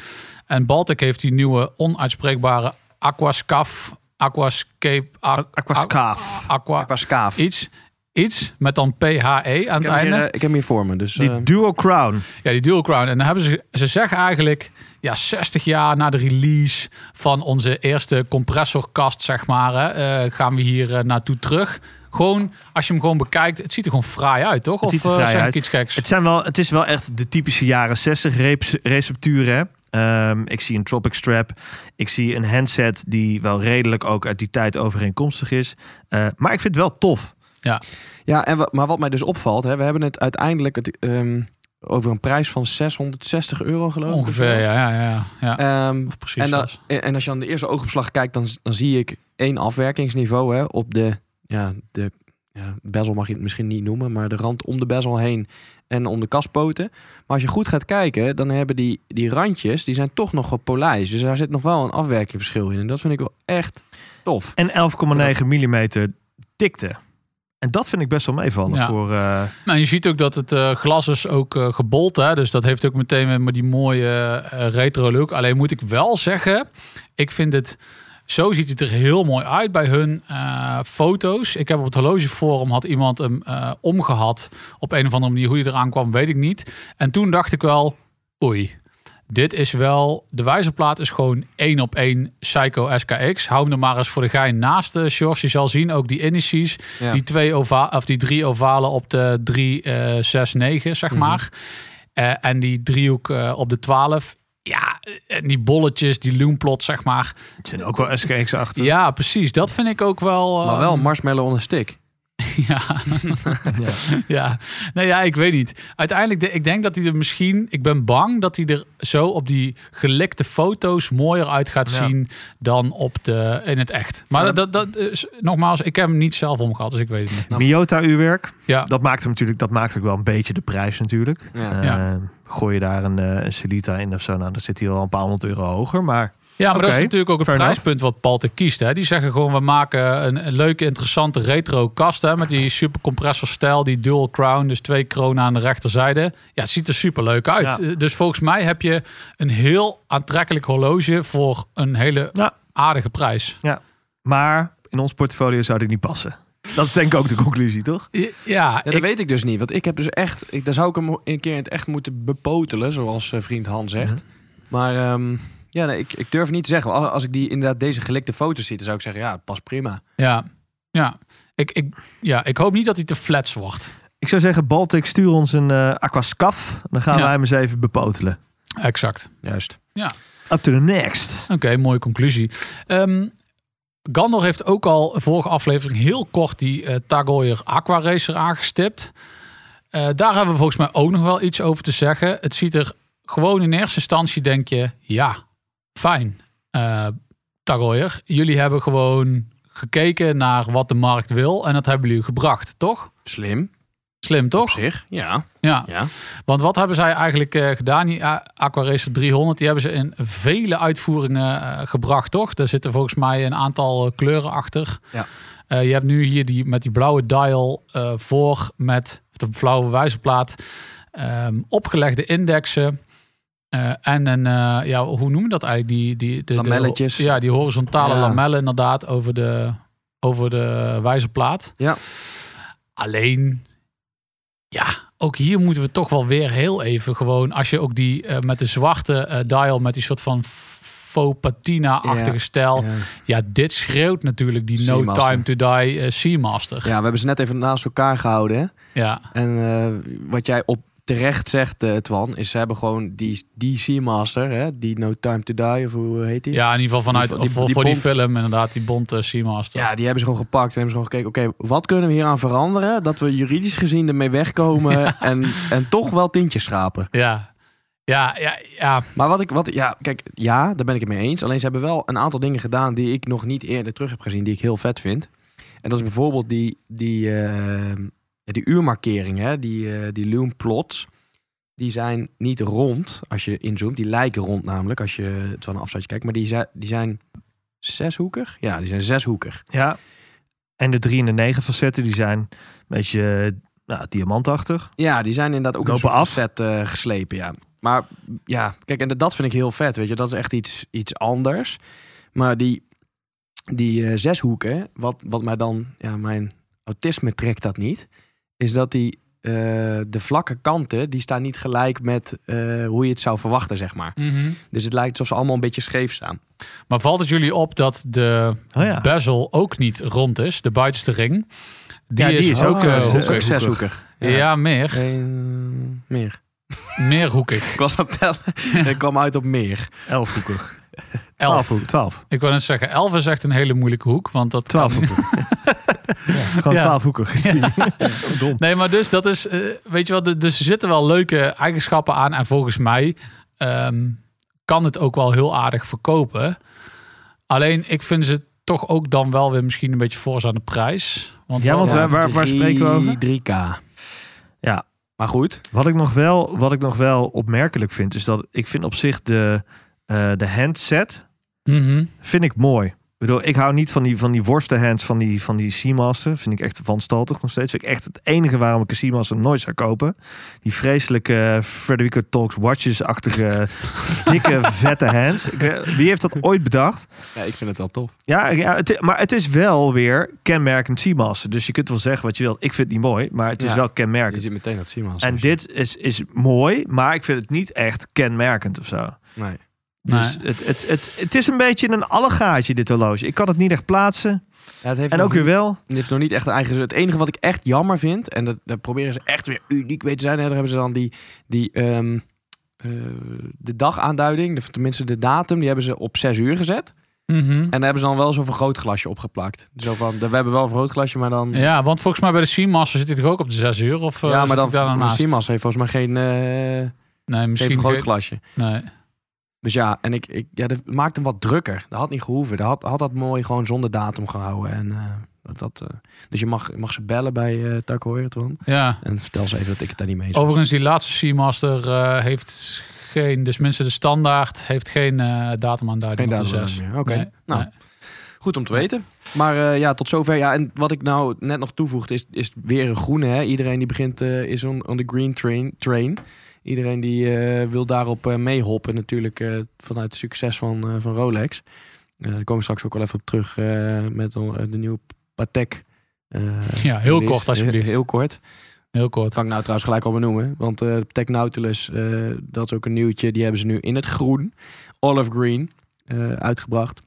Speaker 4: En Baltic heeft die nieuwe onuitspreekbare Aquascaf... Aquascape... Aqua,
Speaker 2: Aquascaaf.
Speaker 4: aqua,
Speaker 1: Qua skaaf.
Speaker 4: iets, iets met dan PHE aan het
Speaker 1: Ik heb, hem
Speaker 4: einde.
Speaker 1: hier, eh, ik heb hem hier voor me. Dus, eh,
Speaker 2: Die dual crown.
Speaker 4: Ja, die dual crown. En dan hebben ze, ze zeggen eigenlijk, ja, 60 jaar na de release van onze eerste compressorkast, zeg maar, hè, eh, gaan we hier eh, naartoe terug. Gewoon, als je hem gewoon bekijkt, het ziet er gewoon fraai uit, toch?
Speaker 2: Het ziet er
Speaker 4: of eh,
Speaker 2: fraai
Speaker 4: zeg ik
Speaker 2: uit.
Speaker 4: iets geks?
Speaker 2: Het, zijn wel, het is wel echt de typische jaren 60 reeps- recepturen. hè. Ehm, ik zie een Tropic Strap. Ik zie een handset die wel redelijk ook uit die tijd overeenkomstig is. Eh, maar ik vind het wel tof.
Speaker 1: ja, en wa- maar wat mij dus opvalt. Hè, we hebben het uiteindelijk het, ehm, over een prijs van 660 euro geloof ik.
Speaker 4: Ongeveer, ja, ja, ja. ja.
Speaker 1: Ehm,
Speaker 4: of precies
Speaker 1: en, dan-
Speaker 4: zelfs.
Speaker 1: en en als je aan de eerste oogopslag kijkt, dan, dan zie ik één afwerkingsniveau hè, op de, ja, de ja, bezel mag je het misschien niet noemen, maar de rand om de bezel heen en om de kaspoten. Maar als je goed gaat kijken, dan hebben die, die randjes, die zijn toch nog op polijst. Dus daar zit nog wel een afwerkingverschil in. En dat vind ik wel echt tof.
Speaker 2: En 11,9 mm dikte. En dat vind ik best wel meevallen
Speaker 4: Ja.
Speaker 2: voor... eh,
Speaker 4: Nou, je ziet ook dat het eh, glas is ook eh, gebold. Hè? Dus dat heeft ook meteen weer met die mooie eh, retro look. Alleen moet ik wel zeggen, ik vind het... Zo ziet het er heel mooi uit bij hun eh, foto's. Ik heb op het horlogeforum had iemand hem eh, omgehad. Op een of andere manier. Hoe hij eraan kwam, weet ik niet. En toen dacht ik wel, oei. Dit is wel, de wijzerplaat is gewoon één op één Psycho SKX. Hou hem er maar eens voor de gein naast, eh, Sjors. Je zal zien, ook die indices.
Speaker 1: Ja.
Speaker 4: Die, twee ova of die drie ovalen op de 3, 6, 9,
Speaker 1: Mhm.
Speaker 4: zeg maar. Eh, en die driehoek eh, op de 12. Ja, eh, en die bolletjes, die loomplot, zeg maar.
Speaker 2: het zijn ook wel SKX achter.
Speaker 4: Ja, precies. Dat vind ik ook wel... eh,
Speaker 1: Maar wel marshmallow on a stick.
Speaker 4: Ja. ja. Nou ja, ik weet niet. Uiteindelijk, de- ik denk dat hij er misschien... Ik ben bang dat hij er zo op die gelikte foto's mooier uit gaat
Speaker 2: Ja.
Speaker 4: zien dan op de, in het echt. Maar
Speaker 1: Ja,
Speaker 4: dat, dat is, nogmaals, ik heb hem niet zelf omgehad, dus ik weet het niet.
Speaker 2: Miyota-uurwerk.
Speaker 4: Ja.
Speaker 2: Dat maakt hem natuurlijk, dat maakt ook wel een beetje de prijs natuurlijk.
Speaker 1: Ja.
Speaker 2: Eh, Gooi je daar een, eh, een Celita in of zo, nou, dan zit hij al een paar honderd euro hoger. Maar
Speaker 4: Ja, maar dat
Speaker 2: Oké,
Speaker 4: is natuurlijk ook een
Speaker 2: fair
Speaker 4: prijspunt wat Palte kiest. Hè. Die zeggen gewoon, we maken een, een leuke, interessante retro kast. Hè, met die supercompressor stijl, die dual crown. Dus twee kronen aan de rechterzijde. Ja, het ziet er super leuk uit.
Speaker 2: Ja.
Speaker 4: Eh, Dus volgens mij heb je een heel aantrekkelijk horloge voor een hele
Speaker 2: Ja.
Speaker 4: aardige prijs.
Speaker 2: Maar in ons portfolio zou dit niet passen. Dat is denk ik ook de conclusie, toch?
Speaker 4: Ja, ja,
Speaker 1: Ja, dat
Speaker 4: ik-
Speaker 1: weet ik dus niet. Want ik heb dus echt, ik, daar zou ik hem een keer in het echt moeten bepotelen, zoals eh, vriend Han zegt. Maar ehm, ja, nee, ik, ik durf niet te zeggen. Als, als ik die inderdaad deze gelikte foto's zie, dan zou ik zeggen, ja, het past prima.
Speaker 4: ja, ja. Ik, ik, ja, ik hoop niet dat hij te flats wordt.
Speaker 2: Ik zou zeggen, Baltic, stuur ons een eh aquascaf. Dan gaan
Speaker 4: Ja.
Speaker 2: wij hem eens even bepotelen.
Speaker 4: Exact.
Speaker 1: Juist.
Speaker 2: Up to the next.
Speaker 4: Oké, mooie conclusie. Ehm, Gandor heeft ook al vorige aflevering heel kort die eh Tagoyer Aqua Racer aangestipt. Eh, daar hebben we volgens mij ook nog wel iets over te zeggen. Het ziet er gewoon in eerste instantie denk je, ja, fijn. eh Tagoyer, jullie hebben gewoon gekeken naar wat de markt wil en dat hebben jullie gebracht, toch?
Speaker 1: Slim.
Speaker 4: Slim,
Speaker 1: Op
Speaker 4: toch?
Speaker 1: zich. Ja.
Speaker 4: Ja.
Speaker 1: ja.
Speaker 4: Want wat hebben zij eigenlijk eh, gedaan? Die A- Aqua Racer 300, die hebben ze in vele uitvoeringen eh, gebracht, toch? Daar zitten volgens mij een aantal eh, kleuren achter.
Speaker 2: Ja.
Speaker 4: Eh, je hebt nu hier die, met die blauwe dial eh, voor met of de blauwe wijzerplaat ehm, opgelegde indexen. eh, en een, eh, ja, hoe noem je dat eigenlijk? Die, die, de, de-
Speaker 1: Lamelletjes.
Speaker 4: ja, die horizontale
Speaker 1: Ja.
Speaker 4: lamellen inderdaad over de, over de wijzerplaat.
Speaker 1: Ja.
Speaker 4: Alleen, ja, ook hier moeten we toch wel weer heel even gewoon... Als je ook die eh, met de zwarte eh, dial, met die soort van f- faux patina-achtige
Speaker 1: Ja.
Speaker 4: stijl...
Speaker 1: Ja.
Speaker 4: Ja, dit schreeuwt natuurlijk die No
Speaker 1: Seamaster.
Speaker 4: Time To Die eh, Seamaster.
Speaker 1: Ja, we hebben ze net even naast elkaar gehouden. Hè?
Speaker 4: Ja.
Speaker 1: En eh, wat jij op terecht zegt, eh, Twan, is ze hebben gewoon die, die Seamaster, hè? die No Time To Die, of hoe heet die?
Speaker 4: ja, in ieder geval vanuit
Speaker 1: Die- die-
Speaker 4: voor,
Speaker 1: die
Speaker 4: voor die
Speaker 1: bont.
Speaker 4: film inderdaad, die bonte Seamaster.
Speaker 1: Ja, die hebben ze gewoon gepakt en hebben ze gewoon gekeken, oké, wat kunnen we hieraan veranderen? Dat we juridisch gezien ermee wegkomen en, en toch wel tintjes schrapen.
Speaker 4: Ja, ja, ja, ja.
Speaker 1: Maar wat ik, wat, ja, kijk, ja, daar ben ik het mee eens. Alleen ze hebben wel een aantal dingen gedaan die ik nog niet eerder terug heb gezien, die ik heel vet vind. En dat is bijvoorbeeld die, die, eh, die uurmarkering, hè? die, eh, die loom plots. Die zijn niet rond als je inzoomt. Die lijken rond namelijk, als je het van een afstandje kijkt. Maar die, zijn- die zijn zeshoekig? Ja, die zijn zeshoekig.
Speaker 2: Ja. En de drie en de negen facetten die zijn een beetje nou, diamantachtig.
Speaker 1: Ja, die zijn inderdaad ook
Speaker 2: Lopen
Speaker 1: een soort
Speaker 2: af.
Speaker 1: facet eh, geslepen, ja. Maar ja, kijk, en dat vind ik heel vet, weet je. Dat is echt iets, iets anders. Maar die, die eh, zeshoeken, wat, wat mij dan... Ja, mijn autisme trekt dat niet. Is dat die, eh, de vlakke kanten, die staan niet gelijk met eh, hoe je het zou verwachten, zeg maar.
Speaker 4: Mhm.
Speaker 1: Dus het lijkt alsof ze allemaal een beetje scheef staan.
Speaker 4: Maar valt het jullie op dat de
Speaker 2: Oh ja.
Speaker 4: bezel ook niet rond is? De buitenste ring. Die,
Speaker 2: Ja, die is ook, eh, hoekig.
Speaker 4: eh,
Speaker 1: Dus, Ook
Speaker 4: hoekig.
Speaker 1: zeshoekig.
Speaker 4: Ja, meer.
Speaker 1: Eén, meer.
Speaker 4: Meer hoekig.
Speaker 1: Ik was aan het tellen. Ik kwam uit op meer.
Speaker 2: Elfhoekig.
Speaker 4: Elf.
Speaker 2: Twaalfhoek- Twaalf.
Speaker 4: Ik wil net zeggen, elf is echt een hele moeilijke hoek. Want dat kan-
Speaker 2: Twaalfhoekig. ja, gewoon
Speaker 4: Ja.
Speaker 2: twaalfhoekig. Dom.
Speaker 4: Nee, maar dus dat is, eh, weet je wel, de- dus er zitten wel leuke eigenschappen aan. En volgens mij ehm, kan het ook wel heel aardig verkopen. Alleen ik vind ze toch ook dan wel weer misschien een beetje fors aan de prijs. Want
Speaker 2: Ja,
Speaker 4: wel-
Speaker 2: want
Speaker 1: Ja,
Speaker 2: waar- waar- waar
Speaker 1: drie-
Speaker 2: spreken we over?
Speaker 1: 3K.
Speaker 2: Ja.
Speaker 1: Maar goed.
Speaker 2: Wat ik, nog wel, wat ik nog wel opmerkelijk vind, is dat ik vind op zich de, eh, de handset
Speaker 4: Mhm.
Speaker 2: vind ik mooi. Ik bedoel, ik hou niet van die, van die worstenhands van die, van die Seamaster. Vind ik echt wanstaltig nog steeds. Vind ik echt het enige waarom ik een Seamaster nooit zou kopen. Die vreselijke eh, Frederico Talks Watches-achtige, dikke, vette hands. Ik weet- Wie heeft dat ooit bedacht?
Speaker 1: Ja, ik vind het wel tof.
Speaker 2: Ja, ja het, maar het is wel weer kenmerkend Seamaster. Dus je kunt wel zeggen wat je wilt. Ik vind het niet mooi, maar het is
Speaker 1: Ja.
Speaker 2: wel
Speaker 1: Je
Speaker 2: kenmerkend.
Speaker 1: ziet meteen dat Simons.
Speaker 2: En dit is, is mooi, maar ik vind het niet echt kenmerkend of zo.
Speaker 1: Nee.
Speaker 2: Dus het, het, het, het is een beetje een allegaatje, dit horloge. Ik kan het niet echt plaatsen.
Speaker 1: Ja, het heeft
Speaker 2: En
Speaker 1: nog
Speaker 2: ook weer
Speaker 1: niet-
Speaker 2: wel.
Speaker 1: het heeft nog niet echt een eigen... Het enige wat ik echt jammer vind... en dat, daar proberen ze echt weer uniek mee te zijn... Hè, daar hebben ze dan die... die ehm, eh, de dagaanduiding, of tenminste de datum... die hebben ze op 6 uur gezet.
Speaker 4: Nee. Mhm.
Speaker 1: En daar hebben ze dan wel zo'n vergrootglasje opgeplakt. Zo van, we hebben wel een vergrootglasje, maar dan...
Speaker 4: Ja, want volgens mij bij de Seamaster zit hij toch ook op de 6 uur? Of, eh,
Speaker 1: Ja,
Speaker 4: zit
Speaker 1: maar dan...
Speaker 4: hij daar
Speaker 1: maar
Speaker 4: daarnaast?
Speaker 1: Simons heeft volgens mij geen, eh
Speaker 4: Nee,
Speaker 1: geen
Speaker 4: misschien ge-
Speaker 1: vergrootglasje.
Speaker 4: Nee.
Speaker 1: Dus ja, en ik, ik ja, dat maakt hem wat drukker. Dat had niet gehoeven. Dat had, had dat mooi gewoon zonder datum gehouden. En, eh, dat, dat, eh, dus je mag, je mag ze bellen bij eh Taco Hoyertwan.
Speaker 4: Ja.
Speaker 1: En vertel ze even dat ik het daar niet mee eens ben.
Speaker 4: Overigens, die laatste Seamaster eh, heeft geen, dus minstens de standaard, heeft geen eh datum
Speaker 1: Geen
Speaker 4: aanduiding op de
Speaker 1: datum
Speaker 4: 6.
Speaker 1: meer. Oké.
Speaker 4: Nee,
Speaker 1: nou,
Speaker 4: nee.
Speaker 1: goed om te weten. Maar eh, ja, tot zover. Ja, en wat ik nou net nog toevoegde is, is weer een groene. Hè? Iedereen die begint eh, is on, on the green train. train. Iedereen die eh, wil daarop eh, meehoppen natuurlijk eh, vanuit het succes van, eh, van Rolex. Eh, daar komen we straks ook wel even op terug eh, met on- eh, de nieuwe Patek. eh,
Speaker 4: Ja, heel
Speaker 1: release.
Speaker 4: kort alsjeblieft.
Speaker 1: Heel,
Speaker 4: Heel,
Speaker 1: heel kort.
Speaker 4: kort.
Speaker 1: Dat kan ik nou trouwens gelijk al benoemen. Want eh Tech Nautilus, eh, dat is ook een nieuwtje. Die hebben ze nu in het groen, olive green, eh, uitgebracht.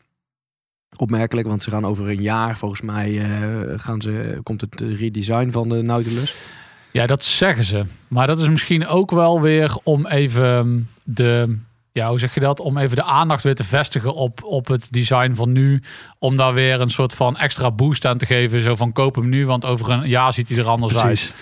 Speaker 1: Opmerkelijk, want ze gaan over een jaar, volgens mij, eh, gaan ze, komt het redesign van de Nautilus.
Speaker 4: Ja, dat zeggen ze. Maar dat is misschien ook wel weer om even de ja, hoe zeg je dat? Om even de aandacht weer te vestigen op, op het design van nu. Om daar weer een soort van extra boost aan te geven. Zo van koop hem nu, want over een jaar ziet hij er anders uit.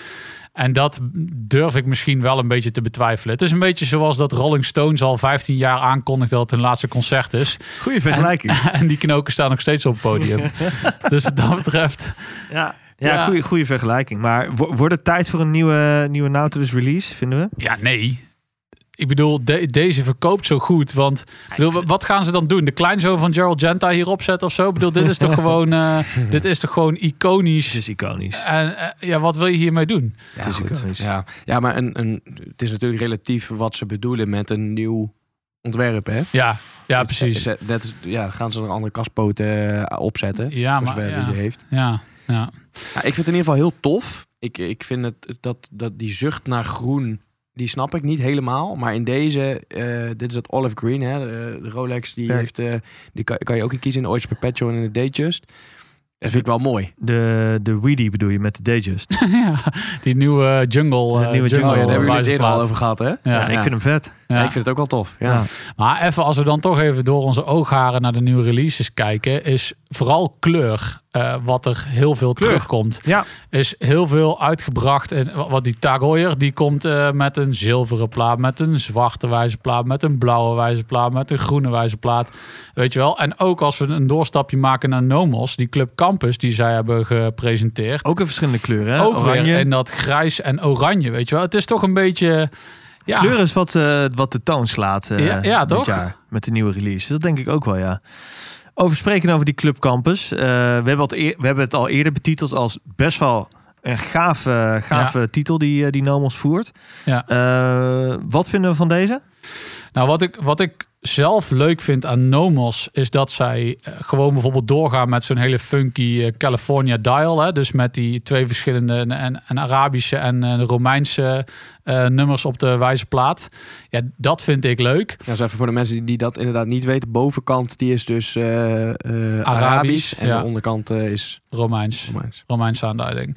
Speaker 4: En dat durf ik misschien wel een beetje te betwijfelen. Het is een beetje zoals dat Rolling Stones al 15 jaar aankondigt dat het hun laatste concert is.
Speaker 2: Goeie vergelijking.
Speaker 4: En die knoken staan nog steeds op het podium. dus wat dat betreft.
Speaker 2: ja, ja,
Speaker 4: Ja.
Speaker 2: Goede, goede vergelijking. Maar wo- wordt het tijd voor een nieuwe, nieuwe Nautilus release, vinden we?
Speaker 4: Ja, nee. Ik bedoel, de- deze verkoopt zo goed. Want ik bedoel, wa- wat gaan ze dan doen? De kleinzoon van Gerald Genta hierop zetten of zo? Ik bedoel, dit is toch gewoon, eh, dit is toch gewoon
Speaker 2: Het
Speaker 4: iconisch.
Speaker 2: is iconisch.
Speaker 4: En eh, ja, wat wil je hiermee doen?
Speaker 2: het is
Speaker 1: goed.
Speaker 2: iconisch.
Speaker 1: Ja, ja maar een, een, het is natuurlijk relatief wat ze bedoelen met een nieuw ontwerp, hè?
Speaker 4: Ja, ja precies.
Speaker 1: Ze- Dat is, ja, gaan ze er een andere kaspoten eh, opzetten.
Speaker 4: Ja,
Speaker 1: voor
Speaker 4: maar-
Speaker 1: zover
Speaker 4: ja.
Speaker 1: die heeft.
Speaker 4: Ja, ja.
Speaker 1: Ja, ik vind het in ieder geval heel tof. Ik, ik vind het, dat, dat die zucht naar groen, die snap ik niet helemaal. Maar in deze, eh, dit is dat olive green, hè, de, de Rolex, die,
Speaker 2: Ja.
Speaker 1: heeft, eh, die kan, kan je ook in kiezen in de Oyster Perpetual en in de Datejust. Dat vind ik wel mooi.
Speaker 2: De, de Weedy bedoel je met de Dayjust.
Speaker 4: ja. Die nieuwe jungle.
Speaker 2: De
Speaker 4: eh,
Speaker 2: nieuwe jungle,
Speaker 1: Oh, ja,
Speaker 2: Oh,
Speaker 1: daar hebben jullie het
Speaker 2: wijze
Speaker 1: eerder
Speaker 4: wijzerplaat.
Speaker 1: al over gehad, hè? Ja,
Speaker 4: Ja,
Speaker 2: Ja, ik vind hem vet.
Speaker 4: ja.
Speaker 1: ik vind het ook wel tof. Ja.
Speaker 2: Ja.
Speaker 4: Maar even, als we dan toch even door onze oogharen naar de nieuwe releases kijken, is vooral kleur eh, wat er heel veel
Speaker 2: Kleur.
Speaker 4: terugkomt.
Speaker 2: Ja.
Speaker 4: Is heel veel uitgebracht. En wa- wat die Tagoyer, die komt eh, met een zilveren plaat, met een zwarte wijzerplaat, met een blauwe wijzerplaat, met een groene wijzerplaat. Weet je wel. En ook als we een doorstapje maken naar Nomos, die Club Campus die zij hebben gepresenteerd
Speaker 2: Ook in verschillende kleuren. Hè?
Speaker 4: ook weer
Speaker 2: Oranje.
Speaker 4: in dat grijs en oranje, weet je wel. Het is toch een beetje... Ja,
Speaker 2: Kleur is wat, eh, wat de toon slaat eh,
Speaker 4: Ja, ja,
Speaker 2: dit
Speaker 4: toch?
Speaker 2: jaar met de nieuwe release. Dat denk ik ook wel, ja. Over spreken over die Club Campus. Eh, we, hebben het eer- we hebben het al eerder betiteld als best wel een gave, gave titel die, eh, die Nomos voert.
Speaker 4: Ja.
Speaker 2: Eh, wat vinden we van deze?
Speaker 4: Nou, wat ik, wat ik zelf leuk vind aan Nomos... is dat zij eh, gewoon bijvoorbeeld doorgaan met zo'n hele funky eh, California dial. Hè? Dus met die twee verschillende... en, en, en Arabische en eh, Romeinse eh, nummers op de wijze plaat. Ja, dat vind ik leuk.
Speaker 1: Ja, dus even voor de mensen die, die dat inderdaad niet weten. Bovenkant die is dus eh, eh, Arabisch, En
Speaker 4: ja.
Speaker 1: de onderkant eh, is
Speaker 4: Romeins.
Speaker 1: Romeins.
Speaker 4: Romeinse aanduiding.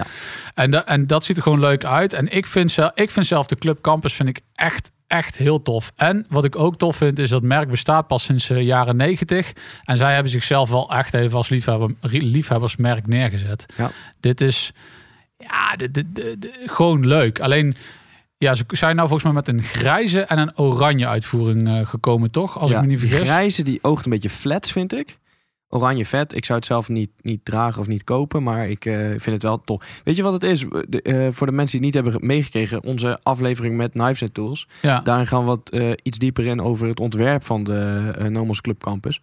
Speaker 4: En, da- en dat ziet er gewoon leuk uit. En ik vind, zelf, ik vind zelf de Club Campus vind ik echt, echt heel tof. En wat ik ook tof vind, is dat merk bestaat pas sinds de jaren negentig. En zij hebben zichzelf wel echt even als liefhebber, liefhebbersmerk neergezet.
Speaker 1: Ja.
Speaker 4: Dit is ja, dit, dit- dit- dit- gewoon leuk. Alleen, ja, ze zijn nou volgens mij met een grijze en een oranje uitvoering eh, gekomen, toch? Als
Speaker 1: Ja,
Speaker 4: ik me niet
Speaker 1: die
Speaker 4: vergis.
Speaker 1: grijze die oogt een beetje flats, vind ik. Oranje vet. Ik zou het zelf niet, niet dragen of niet kopen, maar ik eh, vind het wel tof. Weet je wat het is? We- de, eh, voor de mensen die het niet hebben meegekregen, onze aflevering met Knives and Tools.
Speaker 4: ja.
Speaker 1: Daarin gaan we wat eh, iets dieper in over het ontwerp van de eh, Nomos Club Campus.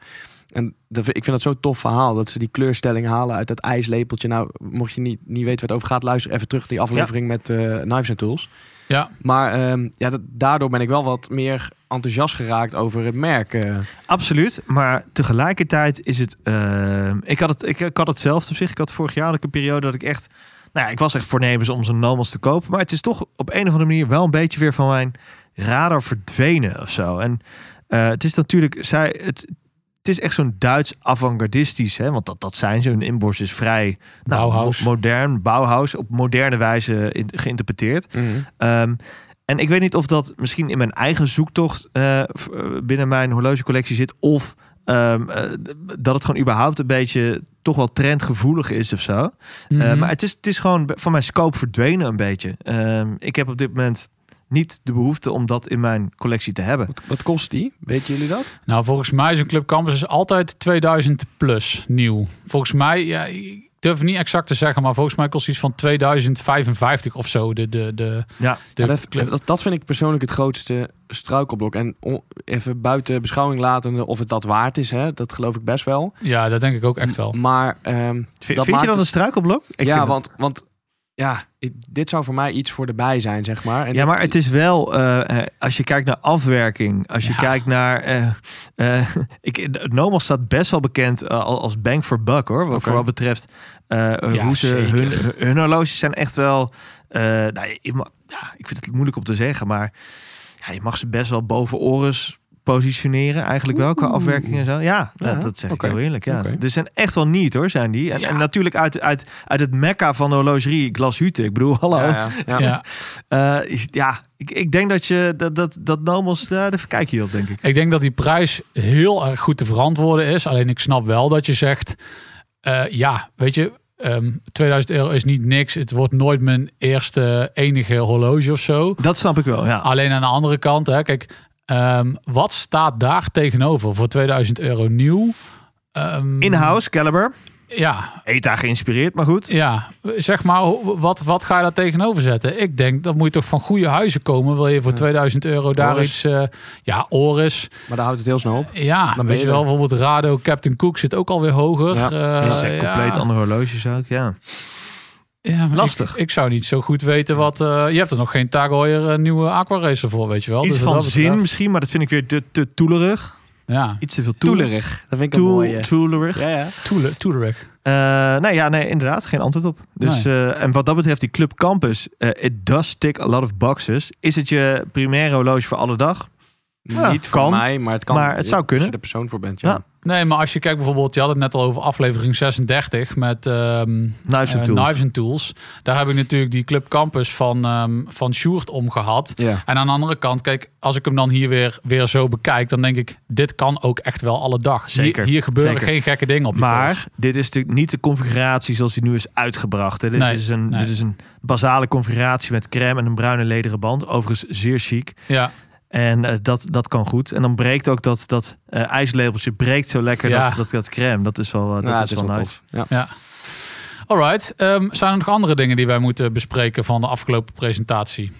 Speaker 1: En dat, vind- ik vind dat zo'n tof verhaal, dat ze die kleurstelling halen uit dat ijslepeltje. Nou, mocht je niet, niet weten waar het over gaat, luister even terug die aflevering met eh Knives and Tools.
Speaker 4: ja.
Speaker 1: Maar ehm, ja, dat- daardoor ben ik wel wat meer enthousiast geraakt over het merk. eh.
Speaker 2: Absoluut, maar tegelijkertijd is het. ehm, ik, had het ik, ik had hetzelfde op zich. Ik had vorig jaar had ik een periode dat ik echt. Nou ja, ik was echt voornemens om zo'n Nomos te kopen. Maar het is toch op een of andere manier wel een beetje weer van mijn radar verdwenen of zo. En eh, het is natuurlijk. Zij, het, het is echt zo'n Duits avant-gardistisch. Hè, want dat, dat zijn ze. Hun inborst is vrij nou,
Speaker 4: Bauhaus.
Speaker 2: mo- modern. Bauhaus op moderne wijze in- geïnterpreteerd.
Speaker 4: Mhm.
Speaker 2: Ehm, en ik weet niet of dat misschien in mijn eigen zoektocht eh, v- eh, binnen mijn horlogecollectie zit. Of ehm, eh, d- dat het gewoon überhaupt een beetje toch wel trendgevoelig is of zo. Eh,
Speaker 4: Mhm.
Speaker 2: maar het is, het is gewoon b- van mijn scope verdwenen een beetje. Ehm, ik heb op dit moment niet de behoefte om dat in mijn collectie te hebben.
Speaker 1: Wat, wat kost die? Weten jullie dat?
Speaker 4: Nou, volgens mij is een Club Campus is altijd 2000 plus nieuw. Volgens mij, ja, ik durf het niet exact te zeggen, maar volgens mij kost iets van 2055 of zo. De, de, de,
Speaker 2: Ja.
Speaker 4: de
Speaker 1: Ja, dat,
Speaker 4: Club-
Speaker 1: dat, dat vind ik persoonlijk het grootste struikelblok. En o- even buiten beschouwing latende of het dat waard is, hè, dat geloof ik best wel.
Speaker 4: ja, dat denk ik ook echt wel.
Speaker 1: Maar ehm,
Speaker 2: V- vind
Speaker 1: maakt
Speaker 2: je dat een
Speaker 1: het-
Speaker 2: struikelblok? Ik
Speaker 1: ja,
Speaker 2: vind het-
Speaker 1: want, want ja, ik- dit zou voor mij iets voor de bij zijn, zeg maar. En
Speaker 2: Ja, maar het is wel, eh, eh, als je kijkt naar afwerking, als je
Speaker 4: Ja.
Speaker 2: kijkt naar. eh, eh, ik, Nomos staat best wel bekend eh, al- als bang for buck hoor. Wat
Speaker 1: Oké.
Speaker 2: Voor wat betreft eh, eh,
Speaker 4: Ja,
Speaker 2: hoe ze
Speaker 4: zeker.
Speaker 2: hun, hun horloges zijn echt wel. eh, nou, je- je ma- ja, ik vind het moeilijk om te zeggen, maar ja, je mag ze best wel boven Oris positioneren eigenlijk wel qua afwerking en zo. Ja,
Speaker 1: Ja,
Speaker 2: dat, dat zeg
Speaker 1: oké.
Speaker 2: ik heel eerlijk. Ja. Dus
Speaker 1: Oké.
Speaker 2: Er zijn echt wel niet hoor, zijn die. En, en natuurlijk uit, uit, uit het mekka van de horlogerie, glashütte. Ik bedoel, hallo. Eh,
Speaker 1: Ja, ja.
Speaker 4: ja.
Speaker 2: Ja, Eh, ik, ik denk dat je dat, dat, dat Nomos, eh, daar verkijk je op, denk ik.
Speaker 4: Ik denk dat die prijs heel erg goed te verantwoorden is. Alleen ik snap wel dat je zegt, eh, ja, weet je, ehm, 2000 euro is niet niks. Het wordt nooit mijn eerste enige horloge of zo.
Speaker 2: Dat snap ik wel, ja.
Speaker 4: Alleen aan de andere kant, hè, kijk, ehm, wat staat daar tegenover voor 2000 euro nieuw? Ehm,
Speaker 2: In-house, Caliber.
Speaker 4: Ja,
Speaker 2: ETA geïnspireerd, maar goed.
Speaker 4: ja, zeg maar, hoe- wat, wat ga je daar tegenover zetten? Ik denk, dat moet je toch van goede huizen komen. Wil je voor 2000 euro daar
Speaker 1: Oris.
Speaker 4: iets... eh, ja, Oris.
Speaker 1: Maar daar houdt het heel snel op.
Speaker 4: Ja,
Speaker 1: Dan ben
Speaker 4: weet
Speaker 1: je
Speaker 4: je wel,
Speaker 1: er.
Speaker 4: bijvoorbeeld Rado, Captain Cook zit ook alweer hoger.
Speaker 1: Ja,
Speaker 4: Eh,
Speaker 2: Is eh, compleet
Speaker 4: ja.
Speaker 2: andere horloges ook, ja.
Speaker 4: Ja, maar
Speaker 2: Lastig.
Speaker 4: Ik, ik zou niet zo goed weten wat... eh, je hebt er nog geen Tag Heuer eh, nieuwe Aquaracer voor, weet je wel.
Speaker 2: Iets
Speaker 4: Dus wat
Speaker 2: van
Speaker 4: dat betreft-
Speaker 2: zin misschien, maar dat vind ik weer te, te toelerig.
Speaker 4: Ja,
Speaker 2: Iets te veel toelerig.
Speaker 1: Toelerig. Dat vind ik een
Speaker 2: Toel-
Speaker 1: mooie.
Speaker 2: Toelerig.
Speaker 1: Ja, ja.
Speaker 4: toele- toelerig.
Speaker 2: Eh, nee, ja, nee, inderdaad, geen antwoord op. Dus, eh, en wat dat betreft, die Club Campus, eh, it does tick a lot of boxes. Is het je primaire horloge voor alle dag? Ja,
Speaker 1: Niet voor
Speaker 2: kan.
Speaker 1: mij, maar het kan.
Speaker 2: Maar het zou kunnen.
Speaker 1: Als je de persoon voor bent, ja.
Speaker 2: Ja.
Speaker 4: Nee, maar als je kijkt bijvoorbeeld... Je had het net al over aflevering 36 met... ehm,
Speaker 2: Knives and
Speaker 4: eh,
Speaker 2: tools.
Speaker 4: Knives and Tools. Daar heb ik natuurlijk die Club Campus van, ehm van Sjoerd om gehad.
Speaker 2: Oh,
Speaker 1: Ja.
Speaker 4: En aan de andere kant, kijk, als ik hem dan hier weer, weer zo bekijk... dan denk ik, dit kan ook echt wel alle dag.
Speaker 2: Zeker,
Speaker 4: Hier, hier gebeuren
Speaker 2: zeker.
Speaker 4: geen gekke dingen op die pols.
Speaker 2: Maar dit is natuurlijk niet de configuratie zoals die nu is uitgebracht. Hè. Dit,
Speaker 4: Nee,
Speaker 2: is een,
Speaker 4: nee.
Speaker 2: dit is een basale configuratie met crème en een bruine lederen band. Overigens zeer chic.
Speaker 4: Ja,
Speaker 2: En eh, dat, dat kan goed. En dan breekt ook dat, dat eh, ijslabeltje breekt zo lekker
Speaker 4: Ja.
Speaker 2: dat, dat, dat crème. Dat is wel, eh, dat
Speaker 1: Ja,
Speaker 2: is
Speaker 1: het is
Speaker 2: wel
Speaker 1: wel
Speaker 2: nice.
Speaker 1: tof. Ja.
Speaker 4: ja. Alright, ehm, zijn er nog andere dingen die wij moeten bespreken van de afgelopen presentatie?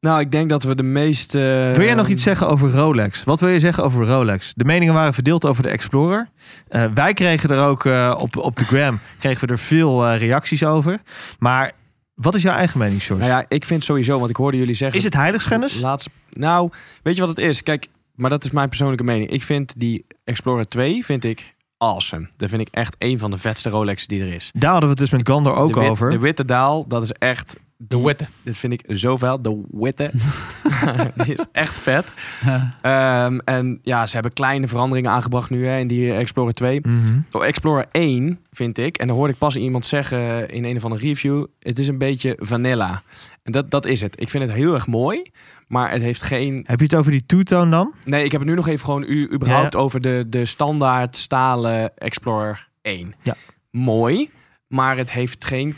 Speaker 1: Nou, ik denk dat we de meest... eh,
Speaker 2: Wil jij nog iets zeggen over Rolex? Wat wil je zeggen over Rolex? De meningen waren verdeeld over de Explorer. Eh, wij kregen er ook eh, op, op de gram kregen we er veel eh, reacties over. Maar wat is jouw eigen mening, George?
Speaker 1: Nou ja, ik vind sowieso, want ik hoorde jullie zeggen...
Speaker 2: is het heiligschennis?
Speaker 1: Laatste, nou, weet je wat het is? Kijk, maar dat is mijn persoonlijke mening. Ik vind die Explorer 2, vind ik awesome. Dat vind ik echt een van de vetste Rolexen die er is.
Speaker 2: Daar hadden we het dus met Gander ook
Speaker 1: de wit-
Speaker 2: over.
Speaker 1: De witte daal, dat is echt...
Speaker 4: De witte.
Speaker 1: Dit vind ik zo vel. De witte. die is echt vet. Ehm, en ja, ze hebben kleine veranderingen aangebracht nu hè, in die Explorer 2.
Speaker 2: Mhm.
Speaker 1: Oh, Explorer 1, vind ik, en dan hoorde ik pas iemand zeggen in een of andere review, het is een beetje vanilla. En dat, dat is het. Ik vind het heel erg mooi, maar het heeft geen...
Speaker 2: Heb je het over die two-tone dan?
Speaker 1: Nee, ik heb het nu nog even gewoon u, überhaupt over de, de standaard stalen Explorer 1.
Speaker 2: Ja.
Speaker 1: Mooi, maar het heeft geen...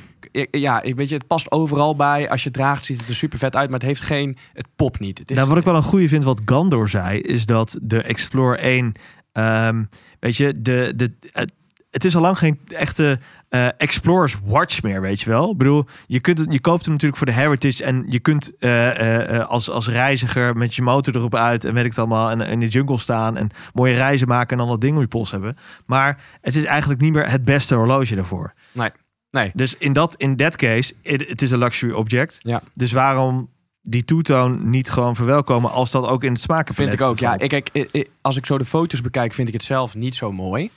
Speaker 1: Ja, ik weet je, het past overal bij. Als je het draagt, ziet het er super vet uit, maar het heeft geen... Het popt niet. Het is,
Speaker 2: nou, wat ik wel een goede vind, wat Gandor zei, is dat de Explorer 1, ehm, weet je, de, de, het, het is al lang geen echte eh, Explorers Watch meer, weet je wel. Ik bedoel, je, kunt het, je koopt hem natuurlijk voor de Heritage en je kunt eh, eh, eh, als, als reiziger met je motor erop uit en weet ik het allemaal, en in de jungle staan en mooie reizen maken en al dat ding om je pols hebben. Maar het is eigenlijk niet meer het beste horloge daarvoor.
Speaker 1: Nee, nee.
Speaker 2: Dus in dat in that case, it- het is een luxury object.
Speaker 1: Ja.
Speaker 2: Dus waarom die toetoon niet gewoon verwelkomen als dat ook in het smaken
Speaker 1: Vind ik ook, ja. Ik, ik, ik- als ik zo de foto's bekijk, vind ik het zelf niet zo mooi.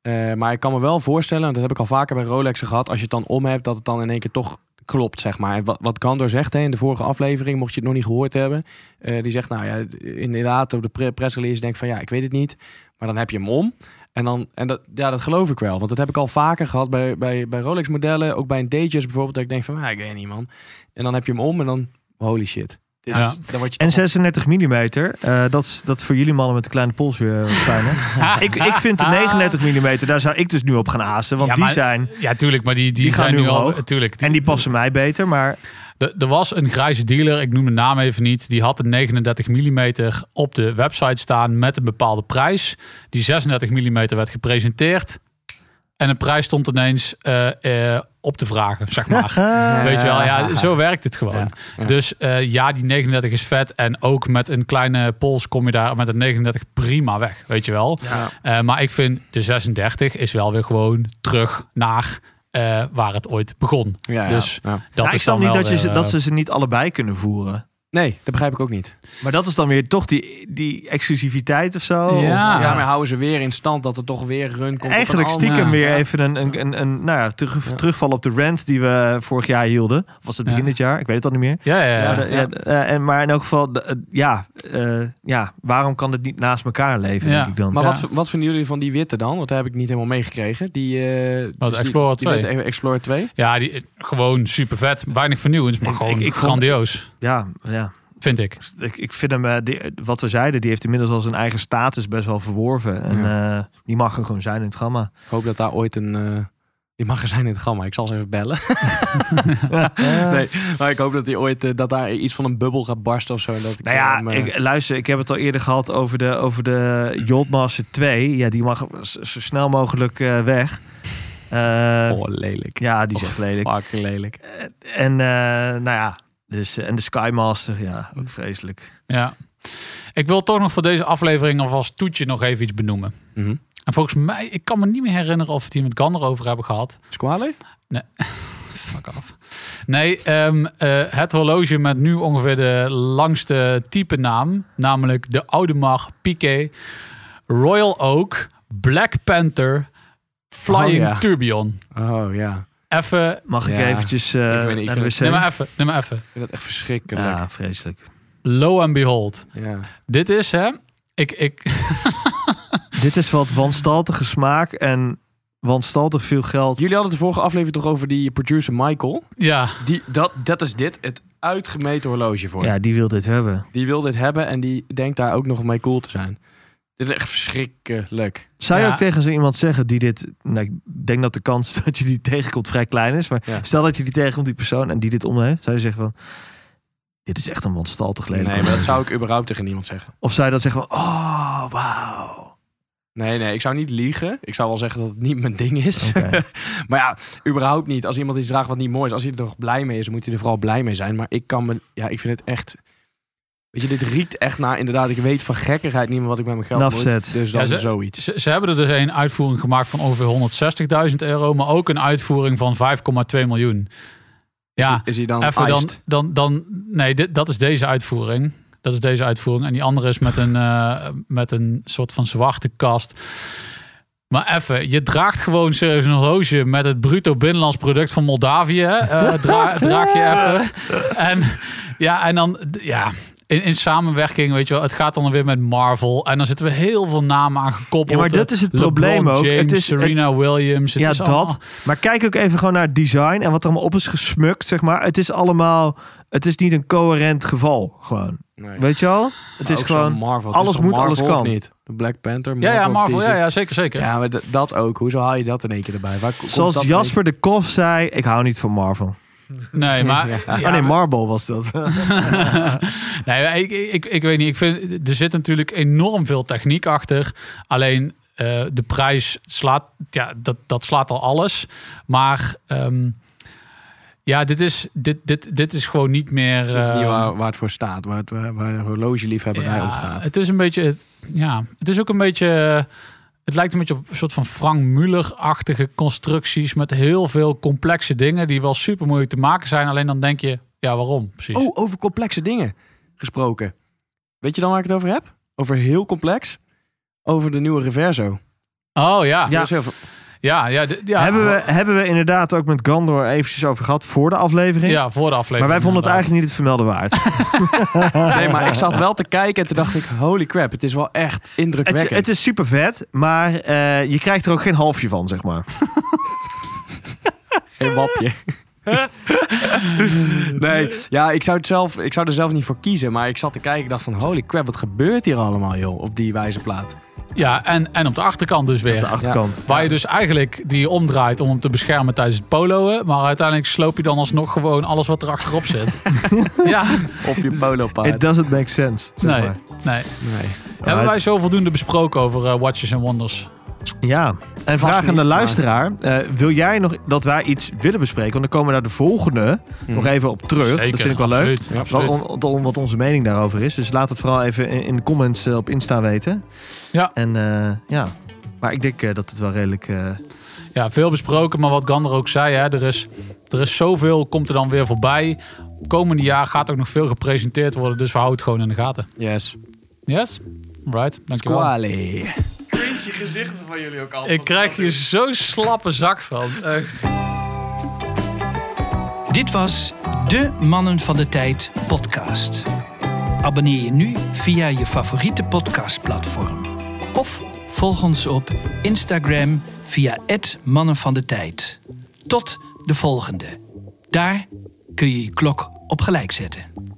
Speaker 1: Eh, maar ik kan me wel voorstellen, en dat heb ik al vaker bij Rolexen gehad, als je het dan om hebt, dat het dan in één keer toch klopt, zeg maar. En Wat, wat Gandor zegt hè, in de vorige aflevering, mocht je het nog niet gehoord hebben, eh, die zegt, nou ja, inderdaad, op de pre- pressrelease denk ik van, ja, ik weet het niet, maar dan heb je hem om. En, dan, en dat, ja, dat geloof ik wel, want dat heb ik al vaker gehad bij, bij, bij Rolex-modellen, ook bij een Datejust bijvoorbeeld, dat ik denk van, ah, ik weet niet, man. En dan heb je hem om en dan, holy shit. Dit
Speaker 4: Ja.
Speaker 1: is- dan word je
Speaker 2: En
Speaker 1: toch-
Speaker 2: 36 mm, dat, is, dat is voor jullie mannen met de kleine pols weer eh, fijn, hè? ik, ik vind de 39 mm, daar zou ik dus nu op gaan azen, want
Speaker 4: Ja,
Speaker 2: die
Speaker 4: maar-
Speaker 2: zijn...
Speaker 4: Ja, tuurlijk, maar die, die,
Speaker 2: Die gaan
Speaker 4: zijn
Speaker 2: nu
Speaker 4: nu al...
Speaker 2: omhoog.
Speaker 4: Tuurlijk,
Speaker 2: En die passen mij beter, maar eh,
Speaker 4: Er er was een grijze dealer, ik noem de naam even niet. Die had een 39 mm op de website staan met een bepaalde prijs. Die 36 mm werd gepresenteerd. En de prijs stond ineens eh, eh, op te vragen, zeg maar. Weet je wel, ja, zo werkt het gewoon.
Speaker 1: Ja, ja.
Speaker 4: Dus eh, ja, die 39 is vet. En ook met een kleine pols kom je daar met een 39 prima weg, weet je wel.
Speaker 1: Ja.
Speaker 4: Eh, maar ik vind de 36 is wel weer gewoon terug naar eh, waar het ooit begon.
Speaker 1: Ja, ja,
Speaker 4: dus
Speaker 1: ja.
Speaker 2: Ja,
Speaker 4: Dat
Speaker 2: nou, ik
Speaker 4: is dan
Speaker 2: snap niet
Speaker 4: wel
Speaker 2: dat, je, ze-
Speaker 4: weer,
Speaker 2: dat
Speaker 4: eh,
Speaker 2: ze ze niet allebei kunnen voeren.
Speaker 1: Nee, dat begrijp ik ook niet.
Speaker 2: Maar dat is dan weer toch die, die exclusiviteit of zo. of-
Speaker 4: Ja.
Speaker 1: En daarmee houden ze weer in stand dat er toch weer run komt. op
Speaker 2: Eigenlijk
Speaker 1: een ander.
Speaker 2: stiekem
Speaker 4: Ja.
Speaker 2: weer even een, een, een, een nou ja, terug,
Speaker 1: Ja.
Speaker 2: terugval op de rant die we vorig jaar hielden. Of was het begin
Speaker 4: Ja.
Speaker 2: dit jaar? Ik weet het al niet meer.
Speaker 4: Ja, ja, ja.
Speaker 2: Ja, de- ja, de- eh, en, maar in elk geval, de- eh, ja, eh, eh, ja, waarom kan dit niet naast elkaar leven,
Speaker 4: Ja.
Speaker 2: denk ik dan.
Speaker 1: Maar
Speaker 4: Ja.
Speaker 1: wat, wat vinden jullie van die witte dan? Want daar heb ik niet helemaal meegekregen. Die, eh, dus die-
Speaker 4: Explorer
Speaker 1: die
Speaker 4: 2.
Speaker 1: witte Explorer 2.
Speaker 4: Ja, die, gewoon super vet. Weinig vernieuwends, maar
Speaker 2: Ik-
Speaker 4: gewoon
Speaker 2: ik- ik vond-
Speaker 4: grandioos,
Speaker 2: Ja, ja.
Speaker 4: vind ik.
Speaker 2: Ik, ik vind hem, eh, die- wat we zeiden, die heeft inmiddels al zijn eigen status best wel verworven. En eh, die mag er gewoon zijn in het gamma.
Speaker 1: Ik hoop dat daar ooit een... eh, die mag er zijn in het gamma. Ik zal ze even bellen. nee, maar ik hoop dat, die ooit, eh, dat daar iets van een bubbel gaat barsten of zo. En dat ik,
Speaker 2: Nou ja,
Speaker 1: hem, eh,
Speaker 2: ik, luister, ik heb het al eerder gehad over de, over de Jotmaster 2. Ja, die mag zo zo snel mogelijk eh, weg. Eh,
Speaker 1: oh, lelijk.
Speaker 2: Ja, die is echt lelijk.
Speaker 1: Fucking lelijk.
Speaker 2: En eh, nou ja, dus, eh, en de Skymaster, ja, ook vreselijk.
Speaker 4: Ja. Ik wil toch nog voor deze aflevering alvast toetje nog even iets benoemen.
Speaker 1: Mhm.
Speaker 4: En volgens mij, ik kan me niet meer herinneren of we het hier met Gander over hebben gehad.
Speaker 1: Squale?
Speaker 4: Fuck af. Nee, ehm, eh, het horloge met nu ongeveer de langste type naam. Namelijk de Audemars Piguet Royal Oak Black Panther Flying
Speaker 1: Oh, ja.
Speaker 4: Tourbillon.
Speaker 1: Oh ja.
Speaker 4: Even,
Speaker 2: Mag ik
Speaker 1: Ja,
Speaker 2: eventjes eh,
Speaker 1: ik weet niet, ik
Speaker 2: naar de
Speaker 1: vind
Speaker 2: wc?
Speaker 1: het-
Speaker 4: neem maar even, neem maar even.
Speaker 1: Ik vind dat echt verschrikkelijk. Ja.
Speaker 2: Ja, vreselijk.
Speaker 4: Lo and behold. Dit is hè, ik, ik,
Speaker 2: Dit is wat wanstaltige smaak en wanstaltig veel geld.
Speaker 1: Jullie hadden het de vorige aflevering toch over die producer Michael.
Speaker 4: ja,
Speaker 1: Die, dat, dat is dit, het uitgemeten horloge voor.
Speaker 2: Ja, die wil dit hebben.
Speaker 1: Die wil dit hebben en die denkt daar ook nog mee cool te zijn. Dit is echt verschrikkelijk.
Speaker 2: Zou je
Speaker 4: Ja.
Speaker 2: ook tegen zo iemand zeggen die dit... Nou, ik denk dat de kans dat je die tegenkomt vrij klein is. Maar
Speaker 1: Ja.
Speaker 2: stel dat je die tegenkomt, die persoon, en die dit om heeft. Zou je zeggen van... Dit is echt een wanstaltig
Speaker 1: Nee,
Speaker 2: lelijk.
Speaker 1: maar dat zou ik überhaupt tegen niemand zeggen.
Speaker 2: Of zou je dat zeggen van... Oh, wauw.
Speaker 1: Nee, nee, ik zou niet liegen. Ik zou wel zeggen dat het niet mijn ding is.
Speaker 2: Oké.
Speaker 1: maar ja, überhaupt niet. Als iemand iets draagt wat niet mooi is, als hij er nog blij mee is, dan moet hij er vooral blij mee zijn. Maar ik kan me, ja, ik vind het echt. Weet je, dit riekt echt naar inderdaad. Ik weet van gekkigheid niet meer wat ik met mijn geld moet.
Speaker 2: Nafzet.
Speaker 1: Dus dan
Speaker 4: Ja, ze-
Speaker 1: zoiets.
Speaker 4: Ze, ze hebben er dus een uitvoering gemaakt van ongeveer 160.000 euro, maar ook een uitvoering van 5,2 miljoen. Ja,
Speaker 1: Is hij dan
Speaker 4: even dan,
Speaker 1: iced?
Speaker 4: dan, dan. Nee, dit, dat is deze uitvoering. Dat is deze uitvoering. En die andere is met een, eh, met een soort van zwarte kast. Maar even, je draagt gewoon serieus een horloge met het bruto binnenlands product van Moldavië. eh, dra- draag je even. En ja, en dan, d- ja, in, in samenwerking, weet je wel, het gaat dan weer met Marvel. En dan zitten we heel veel namen aan gekoppeld.
Speaker 2: Ja, maar dat is het
Speaker 4: LeBron
Speaker 2: probleem ook.
Speaker 4: James,
Speaker 2: Het is-
Speaker 4: Serena Williams. Het
Speaker 2: ja,
Speaker 4: is
Speaker 2: dat.
Speaker 4: allemaal-
Speaker 2: Maar kijk ook even gewoon naar het design en wat er allemaal op is gesmukt, zeg maar. Het is allemaal... Het is niet een coherent geval, gewoon.
Speaker 1: Nee.
Speaker 2: Weet je al? Het
Speaker 1: Maar
Speaker 2: is
Speaker 1: ook zo'n
Speaker 2: gewoon...
Speaker 1: Marvel. Het
Speaker 2: alles
Speaker 1: is toch
Speaker 2: moet,
Speaker 1: Marvel
Speaker 2: alles
Speaker 1: of
Speaker 2: kan.
Speaker 1: niet? De Black Panther.
Speaker 4: Ja, ja,
Speaker 1: of
Speaker 4: Marvel.
Speaker 1: DC?
Speaker 4: Ja, ja, zeker, zeker.
Speaker 1: Ja, maar d- dat ook. Hoezo haal je dat in één keer erbij? Waar ko- komt dat
Speaker 2: Zoals
Speaker 1: in één
Speaker 2: Jasper de Kof zei, ik hou niet van Marvel.
Speaker 4: Nee, maar...
Speaker 1: Ja.
Speaker 4: ja,
Speaker 2: oh nee, Marble was dat.
Speaker 4: nee, maar ik, ik, ik weet niet. Ik vind, er zit natuurlijk enorm veel techniek achter. Alleen eh, de prijs slaat, ja, dat, dat slaat al alles. Maar ehm, ja, dit is, dit, dit, dit is gewoon niet meer.
Speaker 1: Dat is niet
Speaker 4: eh,
Speaker 1: waar, waar het voor staat, waar, het, waar, waar de horlogeliefhebberij om gaat.
Speaker 4: Het is een beetje, het- ja, het is ook een beetje. eh, Het lijkt een beetje op een soort van Frank Muller-achtige constructies met heel veel complexe dingen die wel super moeilijk te maken zijn. Alleen dan denk je, ja, waarom precies?
Speaker 1: Oh, over complexe dingen gesproken. Weet je dan waar ik het over heb? Over heel complex. Over de nieuwe Reverso.
Speaker 4: Oh, ja,
Speaker 2: Ja.
Speaker 1: Dat is heel veel-
Speaker 4: ja, ja, d- ja.
Speaker 2: hebben, we, hebben we inderdaad ook met Gandor eventjes over gehad voor de aflevering.
Speaker 4: Ja, voor de aflevering.
Speaker 2: maar wij vonden het
Speaker 4: inderdaad.
Speaker 2: eigenlijk niet het vermelden waard.
Speaker 1: Nee, maar ik zat wel te kijken en toen dacht ik, holy crap, het is wel echt
Speaker 2: het,
Speaker 1: indrukwekkend.
Speaker 2: het is super vet, maar eh, je krijgt er ook geen halfje van, zeg maar.
Speaker 1: Geen wapje. nee, ja, ik zou, het zelf, ik zou er zelf niet voor kiezen. Maar ik zat te kijken en dacht van, holy crap, wat gebeurt hier allemaal, joh, op die wijze plaat.
Speaker 4: Ja, en, en op de achterkant dus weer.
Speaker 2: De achterkant.
Speaker 4: Waar je dus eigenlijk die omdraait om hem te beschermen tijdens het poloen. Maar uiteindelijk sloop je dan alsnog gewoon alles wat er achterop zit. ja,
Speaker 1: Op je
Speaker 2: It
Speaker 1: polopaard.
Speaker 2: doesn't make sense, zeg
Speaker 4: nee,
Speaker 2: maar.
Speaker 4: nee.
Speaker 1: Nee.
Speaker 4: Hebben wij zo voldoende besproken over eh, Watches and Wonders?
Speaker 2: Ja, en
Speaker 1: Vast
Speaker 2: vraag aan de
Speaker 1: niet, maar-
Speaker 2: luisteraar. eh, wil jij nog dat wij iets willen bespreken? Want dan komen we naar de volgende nog even op terug. dat vind ik wel leuk.
Speaker 4: Hm. absoluut,
Speaker 2: Wat,
Speaker 4: absoluut.
Speaker 2: on- on- wat onze mening daarover is. Dus laat het vooral even in, in de comments eh, op Insta weten.
Speaker 4: Ja.
Speaker 2: En eh, ja, maar ik denk eh, dat het wel redelijk... eh,
Speaker 4: Ja, veel besproken, maar wat Gander ook zei, hè, er, is, er is zoveel, komt er dan weer voorbij. Komende jaar gaat ook nog veel gepresenteerd worden, dus we houden het gewoon in de gaten.
Speaker 1: Yes.
Speaker 4: Yes? Right, dankjewel.
Speaker 1: Squally.
Speaker 4: Ik krijg hier zo'n slappe zak van. Echt.
Speaker 3: Dit was De Mannen van de Tijd podcast. Abonneer je nu via je favoriete podcastplatform. Of volg ons op Instagram via het Mannen van de Tijd. Tot de volgende. Daar kun je je klok op gelijk zetten.